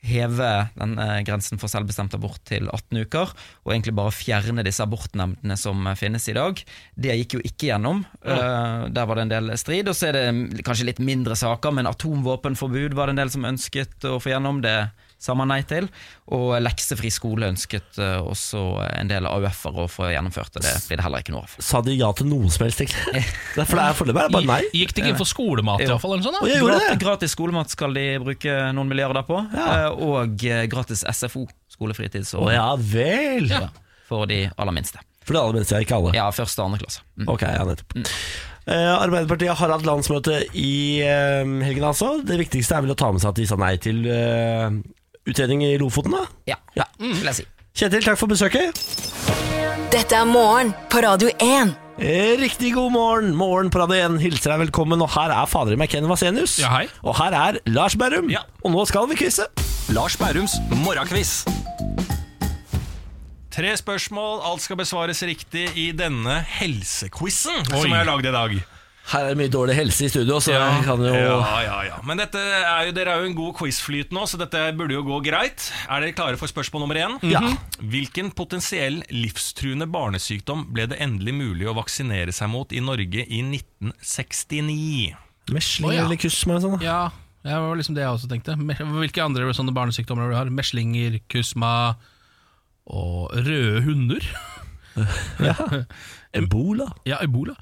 heve den eh, grensen for selvbestemt abort til 18 uker, og egentlig bare fjerne disse abortnemndene som eh, finnes i dag. Det gikk jo ikke gjennom. Eh, der var det en del strid. Og så er det mm, kanskje litt mindre saker, men atomvåpenforbud var det en del som ønsket å få gjennom. det sa man nei til. Og leksefri skole ønsket eh, også en del AUF-ere å få gjennomført, og det blir det heller ikke noe av. Sa de ja til noe som helst, egentlig? Det er- For det er foreløpig er det bare nei. Gikk det ikke inn for skolemat, i Ja. hvert fall? Eller sånn, Og da? jeg gjorde Gratis, det! gratis skolemat skal de bruke noen milliarder på, eh, og eh, gratis SFO, Å skolefritidsordning, ja vel! for de aller minste. For det aller minste, ikke alle. Ja, første og andre klasse. Mm. Ok, ja, nettopp. Eh, Arbeiderpartiet har hatt landsmøte i eh, helgen, altså. Det viktigste er vel å ta med seg at de sa nei til eh, utredning i Lofoten, da. Ja, Mm. Ja. vil jeg si. Kjetil, takk for besøket. Dette er morgen på Radio 1. Eh, Riktig god morgen. Morgen på Radio 1 hilser deg velkommen. Og her er fader i meg Ken Vasenius. Ja, hei. Og her er Lars Berrum. Ja. Og nå skal vi quize. Lars Bærums morgenkviss. Tre spørsmål, alt skal besvares riktig i denne helsequizen som jeg har lagd i dag. Her er det mye dårlig helse i studio, så Ja. jeg kan jo Ja, ja, ja. Men dette er jo, dere er jo en god quizflyt nå, så dette burde jo gå greit. Er dere klare for spørsmål nummer én? Ja. Mhm. Hvilken potensiell livstruende barnesykdom ble det endelig mulig å vaksinere seg mot i Norge i 1969? Mesling Å, ja. eller kusm eller sånn. da. Ja, det var liksom det jeg også tenkte. Me- Hvilke andre sånne barnesykdommer har du? Meslinger, kusma og røde hunder. *laughs* Ebola, Ja, ebola.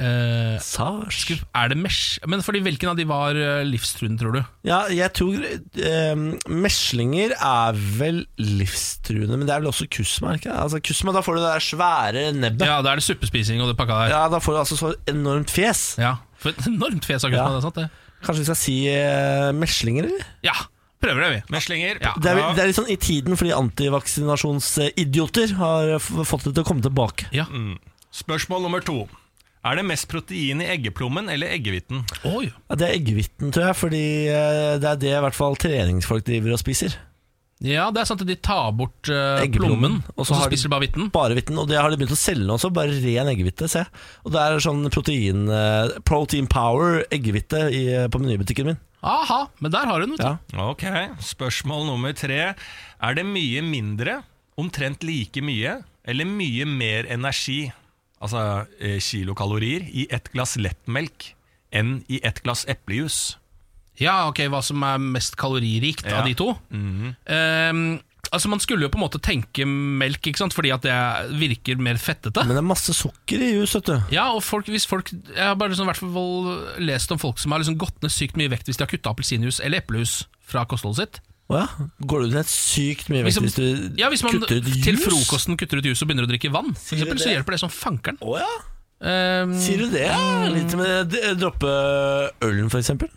Eh, sars er det mesh... Men fordi hvilken av de var eh, livstruende, tror du? Ja, jeg tror eh, meslinger er vel livstruende, men det er vel også kusma, er det ikke? Altså, kusma, da får du det der svære nebbet. Ja. Ja, da er det suppespising og det pakka der. da får du altså så enormt fjes. Ja, for et enormt fjes av Ja. kusma, det er sant det. Kanskje vi skal si eh, meslinger, eller? Ja, prøver det, vi. Meslinger. Ja. Det er, vel- det er litt sånn i tiden fordi antivaksinasjonsidioter har f- fått det til å komme tilbake. Spørsmål nummer to. Er det mest protein i eggeplommen eller eggehviten? Oi, Ja, det er eggehviten, tror jeg, fordi eh, det er det i hvert fall treningsfolk driver og spiser. Ja, det er sant at de tar bort eh, Eggeplommen, plommen, og og så så, har de- spiser de bare hvitten. Bare hvitten, og det har de begynt å selge nå også, bare ren eggehvite, se. Og det er sånn protein, eh, protein power eggehvite i, eh, på menybutikken min. Aha, men der har hun, vet du. Ja. Ok, Spørsmål nummer tre. Er det mye mindre, omtrent like mye, eller mye mer energi, altså eh, kilokalorier, i ett glass lettmelk enn i ett glass eplejus? Ja, ok, hva som er mest kaloririkt Ja. av de to. Mhm. Ehm, altså Man skulle jo på en måte tenke melk, ikke sant? fordi at det virker mer fettete. Men det er masse sukker i jus, vet du. Ja, og folk, hvis folk Jeg har bare liksom, i hvert fall lest om folk som har liksom gått ned sykt mye vekt hvis de har kutta appelsinjuice eller eplejus fra kostholdet sitt. Å ja, går du ned sykt mye vekt Liksom- hvis du Ja, Hvis man kutter ut jus? til frokosten kutter ut juice og begynner å drikke vann, for du eksempel, så det? hjelper det som fankeren. Å ja, Ehm, sier du det? Ja, Litt med d- droppe ølen, for eksempel.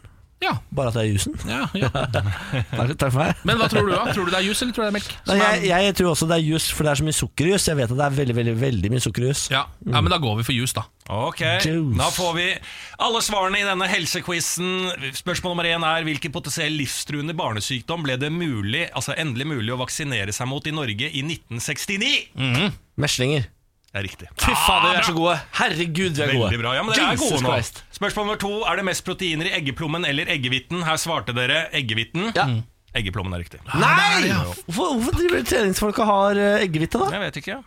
Ja, Bare at det er jusen. ja, ja. Takk, takk for meg. Men hva tror du, da? Tror du det er juice eller tror du det er Nei, melk? Som er- jeg, jeg tror også det er jus, for det er så mye sukker i jus. Jeg vet at det er veldig, veldig, veldig mye sukker i jus. ja. ja, men da går vi for juice, da. Ok, Juice. Da får vi alle svarene i denne helsequizen. Spørsmål nummer én er hvilken potensiell livstruende barnesykdom ble det mulig, altså endelig mulig å vaksinere seg mot i Norge i 1969? Meslinger. Det er riktig. Fy fader, vi er så gode! Herregud, vi er gode. Veldig bra. Ja, men dere er Jesus gode nå. Christ. Spørsmål nummer to. Er det mest proteiner i eggeplommen eller eggehvitten? Her svarte dere eggehvitten. Ja. Eggeplommen er riktig. Nei! det er Hvorfor, hvorfor driver treningsfolk og har eh, eggehvite, da? Jeg vet ikke.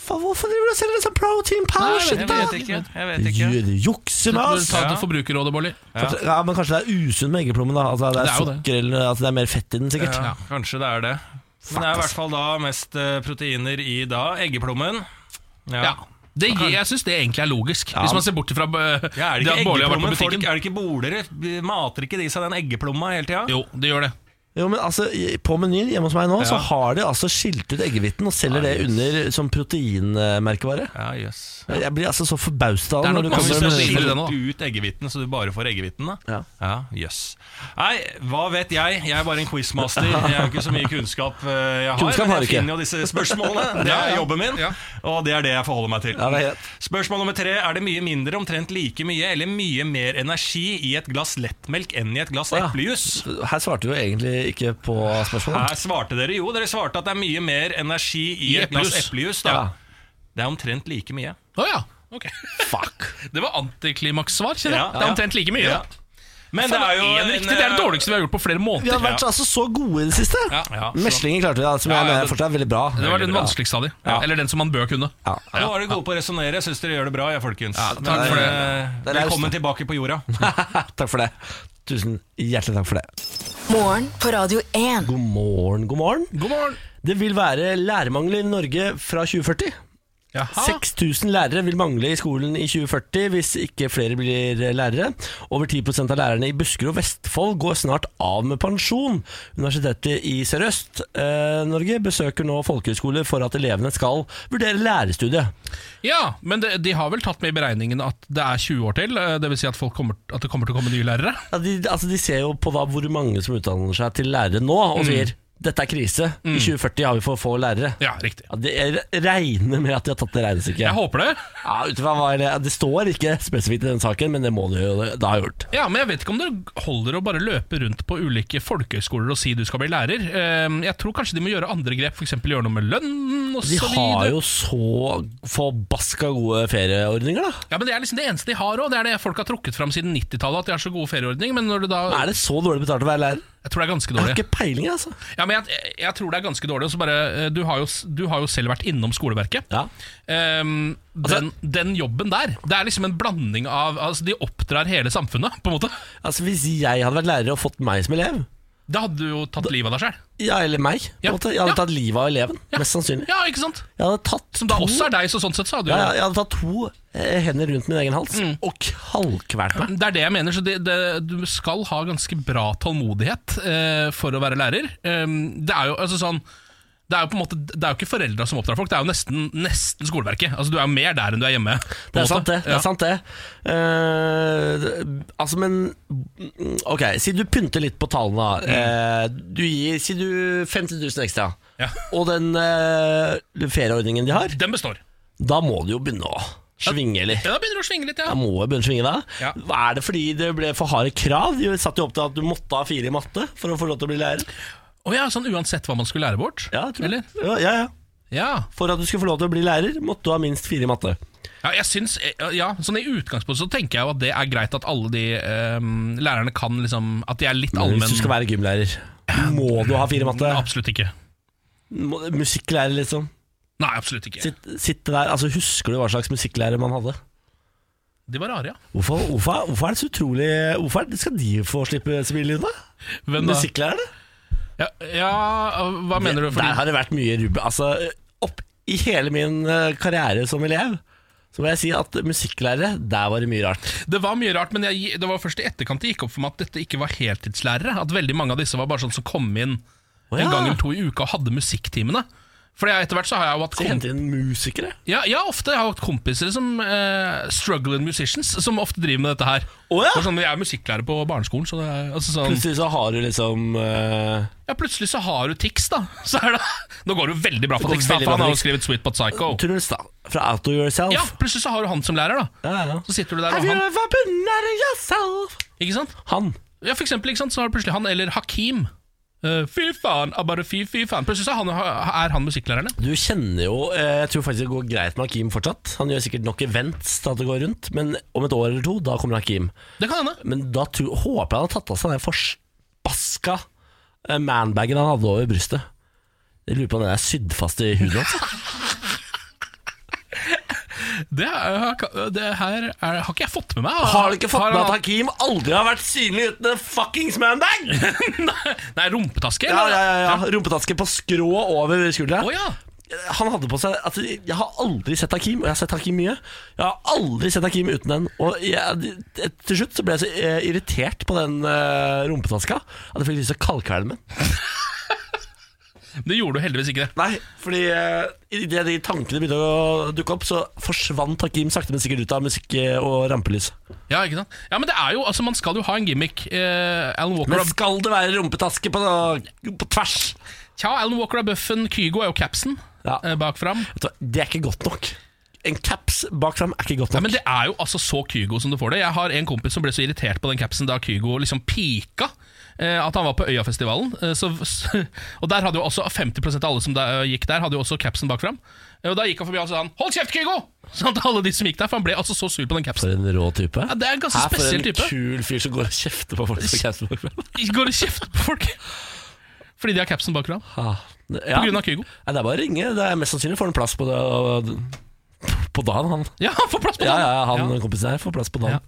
Faen, hvorfor driver du og selger sånn protein Nei, power jeg shit, vet Jeg da? vet ikke. Jeg vet ikke. Gjør- Jukse med Ta oss! det til Forbrukerrådet, Bolli. Kanskje- Ja, men kanskje det er usunn med eggeplommen, da. Altså, det er, Det er jo det. sukker eller altså, det er mer fett i den, sikkert. Ja, kanskje det er det. Men det er i hvert fall da mest eh, proteiner i da eggeplommen. Ja. Det, gir- jeg syns det egentlig er logisk, hvis man ser bort ifra eh, Ja, er det det ikke at Bårli har vært på eggeplommen folk butikken. Er det ikke bolere? Mater ikke de seg den eggeplomma hele tida? Jo, det gjør det. Jo, men altså, i- På menyen hjemme hos meg nå Så har de altså skilt ut eggehviten og selger det under som proteinmerkevare. Ja, jøss. Jeg blir altså så forbauset av det. Det er når du nok mange som kommer- har skilt ut eggehviten, så du bare får eggehviten. da Ja, jøss. Nei, hva vet jeg? Jeg er bare en quizmaster. Jeg har jo ikke så mye kunnskap eh, jeg har. Kunnskap men har du ikke. jeg finner jo disse spørsmålene. Det Ja, er ja. jobben min, og det er det jeg forholder meg til. det er greit. Spørsmål nummer tre. Er det mye mindre, omtrent like mye, eller mye mer energi i et glass lettmelk enn i et glass eplejus? Her svarte du jo egentlig ikke på spørsmålet. Her svarte dere jo. Dere svarte at det er mye mer energi i, I et glass eplejus. eplejus. da Det er omtrent like mye. Å ja, ok Fuck *laughs* Det var antiklimakssvar, kjenner jeg Ja, Det ja. er omtrent like mye Ja. Men Faen, det er jo en eh, en, riktig, Det er det dårligste vi har gjort på flere måneder Vi har vært altså så gode i det siste. Ja, ja, så- Meslinger klarte vi, da, som jeg mener fortsatt er veldig bra. Det var den vanskeligste av de Eller den som man bør kunne Ja. Nå var dere gode på å resonnere. Jeg syns dere gjør det bra, jeg, folkens. takk Men, for det. eh, Det er raust, Velkommen det. tilbake på jorda. *laughs* Takk for det. Tusen hjertelig takk for det. Morgen på Radio 1. God morgen, god morgen. God morgen Det vil være lærermangel i Norge fra 2040. Jaha. 6000 lærere vil mangle i skolen i 2040 hvis ikke flere blir lærere. Over 10 av lærerne i Buskerud og Vestfold går snart av med pensjon. Universitetet i Sørøst-Norge besøker nå folkehøyskoler for at elevene skal vurdere lærerstudiet. Ja, men det, de har vel tatt med i beregningen at det er 20 år til eh, Det vil si at, folk kommer, at det kommer til å komme nye lærere Ja, de, altså de ser jo på hva, hvor mange som utdanner seg til lærere nå, og Mm. sier dette er krise. Mm. I 2040 har vi for få lærere. Ja, riktig Ja, det, jeg regner med at de har tatt det regnestykket. Jeg håper det Ja, ut fra hva det, det står ikke spesifikt i den saken, men det må det jo da ha gjort. Ja, men jeg vet ikke om det holder å bare løpe rundt på ulike folkehøyskoler og si du skal bli lærer. Eh, Jeg tror kanskje de må gjøre andre grep, f.eks. gjøre noe med lønnen og De så har videre. jo så forbaska gode ferieordninger, da. Ja, men Det er liksom det eneste de har òg. Det er det folk har trukket fram siden 90-tallet, at de har så gode ferieordninger. Men når du da Er det så dårlig betalt å være lærer? Jeg tror det er ganske Jeg har dårlig. ikke peiling, altså. Ja, men jeg, jeg tror det er ganske dårlig. Og så bare, eh, du, har jo, s- du har jo selv vært innom skoleverket. Ehm, Altså- den, den jobben der, det er liksom en blanding av altså, De oppdrar hele samfunnet, på en måte. Altså Hvis jeg hadde vært lærer og fått meg som elev Da hadde du jo tatt livet av deg sjøl. Ja, eller meg. på en Ja. måte. Jeg hadde Ja. tatt livet av eleven, mest sannsynlig. Ja, ikke sant? Jeg hadde tatt Som da to- også er deg, så sånn sett så hadde du Ja, Mm. jo ja, jeg hadde tatt to eh, hender rundt min egen hals og kalkvært meg. Det er det jeg mener. Så det, det, du skal ha ganske bra tålmodighet eh, for å være lærer. Ehm, det er jo altså sånn det er, jo på en måte, det er jo ikke foreldra som oppdrar folk, det er jo nesten, nesten skoleverket. Altså Du er jo mer der enn du er hjemme. på Det en måte. er sant, det. det, Ja. er sant det. Eh, det- altså, men mm, Ok, si du pynter litt på tallene. da. Eh, du gir Si du 50 000 ekstra. Og den eh, ferieordningen de har Den består. Da må du jo begynne å svinge litt. Ja, Da begynner du å svinge litt, ja. Da må jeg begynne å svinge da. Ja. Er det fordi det ble for harde krav? De satte jo opp til at du måtte ha fire i matte for å få lov til å bli lærer. Å ja, sånn uansett hva man skulle lære bort? Ja, jeg tror Eller? det. Ja, ja, ja. Ja. For at du skulle få lov til å bli lærer, måtte du ha minst fire i matte. Ja, jeg syns, ja, sånn I utgangspunktet så tenker jeg jo at det er greit at alle de ehm, lærerne kan liksom At de er litt Men allmenn... Hvis du skal være gymlærer, må du ha fire i matte? Absolutt ikke. Må- Musikklærer, liksom. Nei, absolutt ikke. Sitt, sitte der, altså Husker du hva slags musikklærer man hadde? De var rare, ja. Hvorfor, hvorfor, hvorfor er det så utrolig Hvorfor er det- skal de få slippe så mye lyd, da? Hvem da? Musikklærerne? Ja, ja hva mener du? Der har det vært mye rubbe. Altså, opp I hele min eh, karriere som elev så må jeg si at musikklærere, der var det mye rart. Det var mye rart, men jeg, det var først i etterkant det gikk opp for meg at dette ikke var heltidslærere. At veldig mange av disse var bare sånn som kom inn ja. en gang eller to i uka og hadde musikktimene. For etter hvert så har jeg jo hatt Så henter de inn musikere. ja, ja, ofte har jeg hatt kompiser som eh, struggling musicians, som ofte driver med dette her. Å, ja. For sånn, jeg er musikklærer på barneskolen, så det er altså sånn Plutselig så har du liksom eh, Ja, plutselig så har du Tix, da. *laughs* Så er det, nå går det jo veldig bra Det for går Tix, da, veldig for bra han for har jo Tix. skrevet Sweet But Psycho. Truls, da. Fra Out of Yourself. Ja, plutselig så har du han som lærer, da. Ja, ja. Så sitter du der Have og you han ever been out of yourself? Ikke sant? Han. Ja, for eksempel, ikke sant? så har du plutselig han eller Hakim. Eh, fy faen, ah, bare fy, fy faen. Plutselig så er han, er han musikklærerne. Du kjenner jo eh, Jeg tror faktisk det går greit med Hakim fortsatt. Han gjør sikkert nok events til at det går rundt, men om et år eller to, da kommer Hakim. Det kan hende. Men da tror, håper jeg han har tatt av seg den forbaska eh, manbagen han hadde over brystet. Jeg lurer på om den er sydd fast i huden *laughs* hans. Det, er- det her er, har ikke jeg fått med meg. ah? Har du ikke fått med at han- Hakim aldri har vært synlig uten en fuckings manbag? Nei, rumpetaske? *laughs* Ja, eller? ja, ja, ja. Rumpetaske på skrå over skuldra. Å ja. han hadde på seg at Jeg har aldri sett Hakim, og jeg har sett Hakim mye. Jeg har aldri sett Hakim uten den. Og jeg, til slutt så ble jeg så eh, irritert på den eh, rumpetaska at jeg fikk lyst til å kalkvele den. Det gjorde du heldigvis ikke. Nei, fordi eh, idet de tankene begynte å dukke opp, så forsvant Hakim sakte, men sikkert ut av musikk eh, og rampelys. Ja, ikke sant? Ja, men det er jo, altså Man skal jo ha en gimmick. Eh, Alan Walker Men skal det være rumpetaske på, på tvers? Tja, Alan Walker er bøffen, Kygo er jo capsen ja. eh, bak fram. Det er ikke godt nok. En caps bak fram er ikke godt nok. Ja, men Det er jo altså så Kygo som du får det. Jeg har en kompis som ble så irritert på den capsen da Kygo liksom pika. eh, At han var på Øyafestivalen. eh, Så, *laughs* og der hadde jo også 50 av alle som da, eh, gikk der, hadde jo også capsen bak fram. Eh, Og da gikk han forbi og sa han 'hold kjeft, Kygo!' *laughs* Sånn til alle de som gikk der, for han ble altså så sur på den capsen. For en rå type. Ja, det er en ganske spesiell type. For en kul fyr som går og kjefter på folk. *laughs* Som kjefter på folk. Går og kjefter på folk *laughs* fordi de har capsen bak fram. Ah, På grunn av Kygo. Nei, det er bare å ringe. Det er mest sannsynlig får han plass på det. og- På dagen, han. Ja, han får plass på Ja, dagen. ja, han kompisen her får plass på dagen.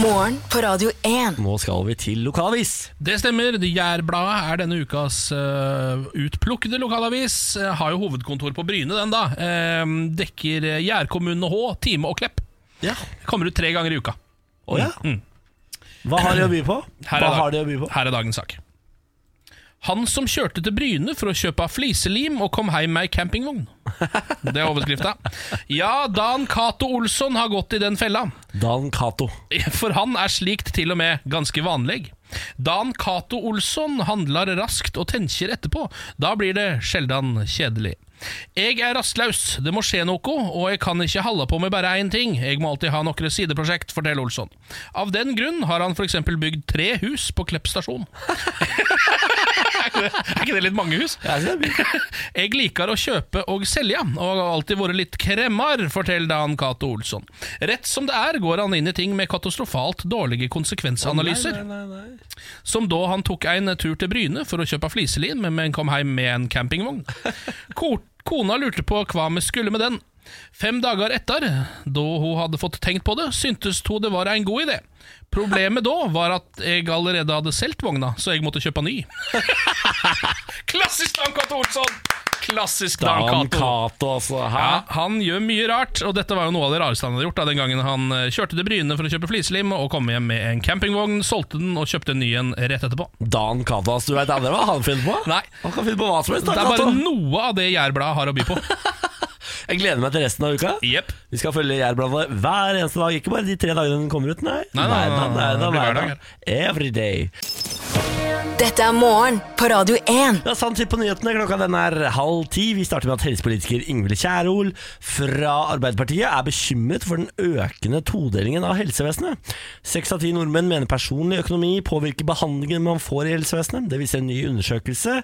Morgen på Radio 1. Nå skal vi til lokalavis. Det stemmer. Det Jærbladet er denne ukas eh, utplukkede lokalavis. Eh, har jo hovedkontor på Bryne, den, da. Eh, dekker eh, Gjærkommunene H, Time og Klepp. Ja. Kommer ut tre ganger i uka. Å ja. Mm. Hva har de å by på? Her Hva er, dag- har de å by på? her er dagens sak. Han som kjørte til Bryne for å kjøpe fliselim og kom hjem med ei campingvogn. Det er overskrifta. Ja, Dan Cato Olsson har gått i den fella. Dan Cato. *laughs* For han er slikt til og med ganske vanlig. Dan Cato Olsson handler raskt og tenker etterpå. Da blir det sjeldan kjedelig. Jeg er rastløs, det må skje noe, og jeg kan ikke holde på med bare én ting. Jeg må alltid ha noen sideprosjekt, forteller Olsson. Av den grunn har han f.eks. bygd tre hus på Klepp stasjon. *laughs* Er ikke det litt mange hus? *laughs* Jeg liker å kjøpe og selge, og har alltid vært litt kremmar, forteller Dan Cato Olsson. Rett som det er går han inn i ting med katastrofalt dårlige konsekvensanalyser. Som da han tok en tur til Bryne for å kjøpe fliselin, men kom hjem med en campingvogn. Ko- Kona lurte på hva vi skulle med den. Fem dager etter, da hun hadde fått tenkt på det, syntes hun det var en god idé. Problemet da var at jeg allerede hadde solgt vogna, så jeg måtte kjøpe ny. Klassisk Dan Cato Olsson! Klassisk Dan Dan Cato. Cato, altså. Hæ? Ja, han gjør mye rart, og dette var jo noe av det rareste han hadde gjort. Da, den gangen han eh, kjørte til Bryne for å kjøpe flislim og kom hjem med en campingvogn, solgte den og kjøpte en ny en rett etterpå. Dan Cato, altså. Du veit aldri hva han finner på? Nei, Han kan finne på hva som helst. Det Dan er bare Cato. noe av det Jærbladet har å *laughs* by på. Jeg gleder meg til resten av uka. Jepp. Vi skal følge Jærbladet hver eneste dag. Ikke bare de tre dagene den kommer ut, nei. Nei, nei, nei, nei, det blir hver dag, Every day. Dette er morgen på Radio 1. Det er sann tid på nyhetene. Klokka den er halv ti. Vi starter med at helsepolitiker Ingvild Kjerol fra Arbeiderpartiet er bekymret for den økende todelingen av helsevesenet. Seks av ti nordmenn mener personlig økonomi påvirker behandlingen man får i helsevesenet. Det viser en ny undersøkelse.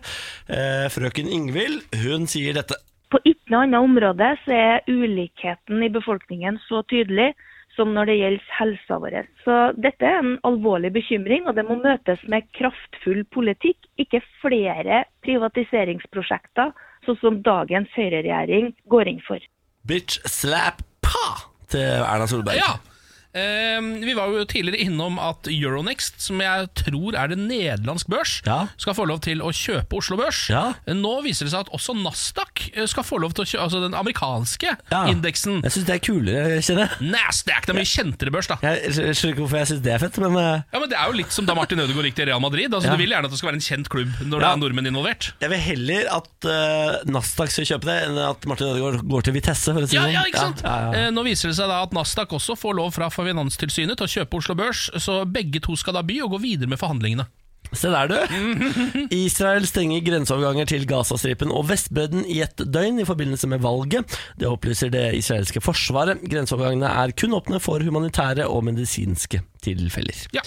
Eh, Frøken Ingvild hun sier dette. På et eller annet område så er ulikheten i befolkningen så tydelig som når det gjelder helsa vår. Så dette er en alvorlig bekymring, og det må møtes med kraftfull politikk, ikke flere privatiseringsprosjekter, sånn som dagens høyreregjering går inn for. Bitch slap pa til Erna Solberg. Ja. Eh, vi var jo tidligere innom at Euronext, som jeg tror er det nederlandsk børs, Ja. skal få lov til å kjøpe Oslo Børs. Ja. Nå viser det seg at også Nasdaq eh, skal få lov til å kjøpe altså den amerikanske Ja. indeksen. Jeg syns det er kulere, kjenner jeg. Nasdaq, det er mye kjentere børs, da. Jeg skjønner ikke hvorfor jeg syns det er fett, men eh, Ja, men Det er jo litt som da Martin Ødegaard gikk til Real Madrid. Altså, Ja. Du vil gjerne at det skal være en kjent klubb når det Ja. er nordmenn involvert. jeg vil heller at eh, Nasdaq skal kjøpe det, enn at Martin Ødegaard går til Vitesse. For å si Ja, det ja, sånn. ikke sant? Ja, ja, ja. Eh, Nå viser det seg da at Nasdaq også får lov fra Finanstilsynet til å kjøpe Oslo Børs, så begge to skal da by og gå videre med forhandlingene. Se *laughs* der, du. Israel stenger grenseoverganger til Gazastripen og Vestbredden i et døgn i forbindelse med valget. Det opplyser det israelske forsvaret. Grenseovergangene er kun åpne for humanitære og medisinske tilfeller. Ja.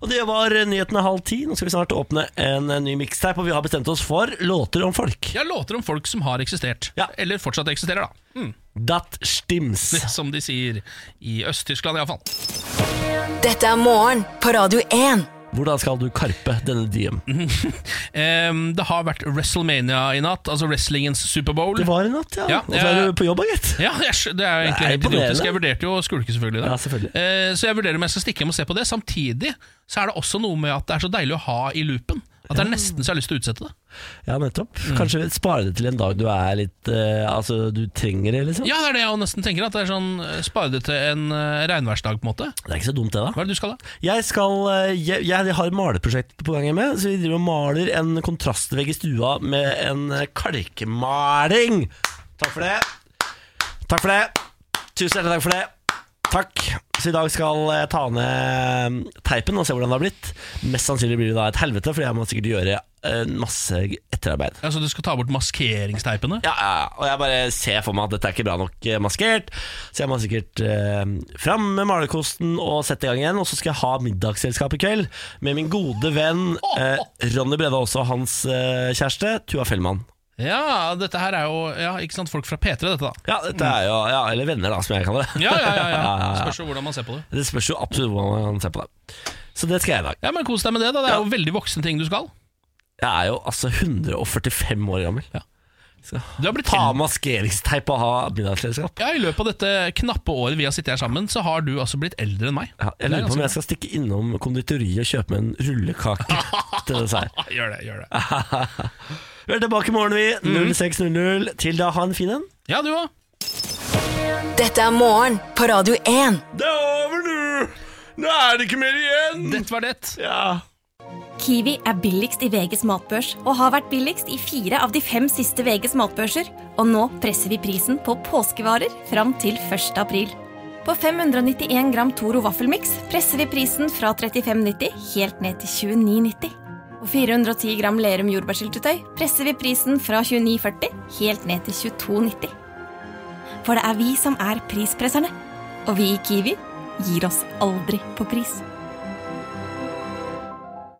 Og Det var nyhetene halv ti. Nå skal vi snart åpne en ny mixtape, og vi har bestemt oss for låter om folk. Jeg har låter om folk som har eksistert, Ja. eller fortsatt eksisterer, da. Mm. Dat stims. *laughs* Som de sier i Øst-Tyskland, iallfall. Dette er morgen på Radio 1. Hvordan skal du karpe denne diem? Um, det har vært WrestleMania i natt, altså wrestlingens Superbowl. Det var i natt, ja. Ja, Og så er jeg- du på jobb, gitt. Ja, jeg, skj- det er jo egentlig Det er helt imponerende. idiotisk. Jeg vurderte jo å skulke, selvfølgelig. i dag. Ja, selvfølgelig. Eh, så jeg vurderer om jeg skal stikke hjem og se på det. Samtidig så er det også noe med at det er så deilig å ha i loopen. At det er nesten så jeg har lyst til å utsette det. Ja, nettopp. Kanskje spare det til en dag du er litt eh, Altså, du trenger det, liksom. Ja, det er det jeg nesten tenker. At det er sånn eh, Spare det til en eh, regnværsdag, på en måte. Det er ikke så dumt, det, da. Hva er det du skal, da? Jeg, skal, eh, jeg, jeg har et maleprosjekt på gang med, så vi driver og maler en kontrastvegg i stua med en eh, kalkmaling. Takk for det. Takk for det. Tusen hjertelig takk for det. Takk. Så i dag skal jeg ta ned eh, teipen og se hvordan det har blitt. Mest sannsynlig blir det da et helvete, for jeg må sikkert gjøre eh, masse etterarbeid. Ja, så du skal ta bort maskeringsteipene? Ja, ja, ja. og jeg bare ser for meg at dette er ikke bra nok eh, maskert. Så jeg må sikkert eh, fram med malerkosten og sette i gang igjen. Og så skal jeg ha middagsselskap i kveld med min gode venn eh, Ronny Brede Aase og hans eh, kjæreste Tua Fellmann. Ja, dette her er jo ja, ikke sant, folk fra P3, dette da. Ja, dette er jo, ja, Eller venner, da, som jeg kaller det. *laughs* Ja, ja, *laughs* ja, ja. Spørs jo hvordan man ser på det. Det spørs jo absolutt hvordan man ser på det. Så det skal jeg i dag. Ja, Men kos deg med det, da. Det er jo veldig voksne ting du skal. Jeg er jo altså 145 år gammel. Så, du har blitt ta maskeringsteip og ha middagsselskap. Ja, I løpet av dette knappe året vi har sittet her sammen, så har du altså blitt eldre enn meg. Ja, jeg lurer på om jeg skal stikke innom konditoriet og kjøpe meg en rullekake til dessert. Gjør det, gjør det. Ah. Vi er tilbake i morgen, vi. 06.00. Til da, ha en fin en. Ja, du òg. Dette er morgen på Radio 1. Det er over nå! Nå er det ikke mer igjen! Dette var det. Ja. Kiwi er billigst i VGs matbørs og har vært billigst i fire av de fem siste VGs matbørser. Og nå presser vi prisen på påskevarer fram til 1. april. På 591 gram Toro vaffelmiks presser vi prisen fra 35,90 helt ned til 29,90. Og 410 gram Lerum jordbærsyltetøy presser vi prisen fra 29,40 helt ned til 22,90. For det er vi som er prispresserne. Og vi i Kiwi gir oss aldri på pris.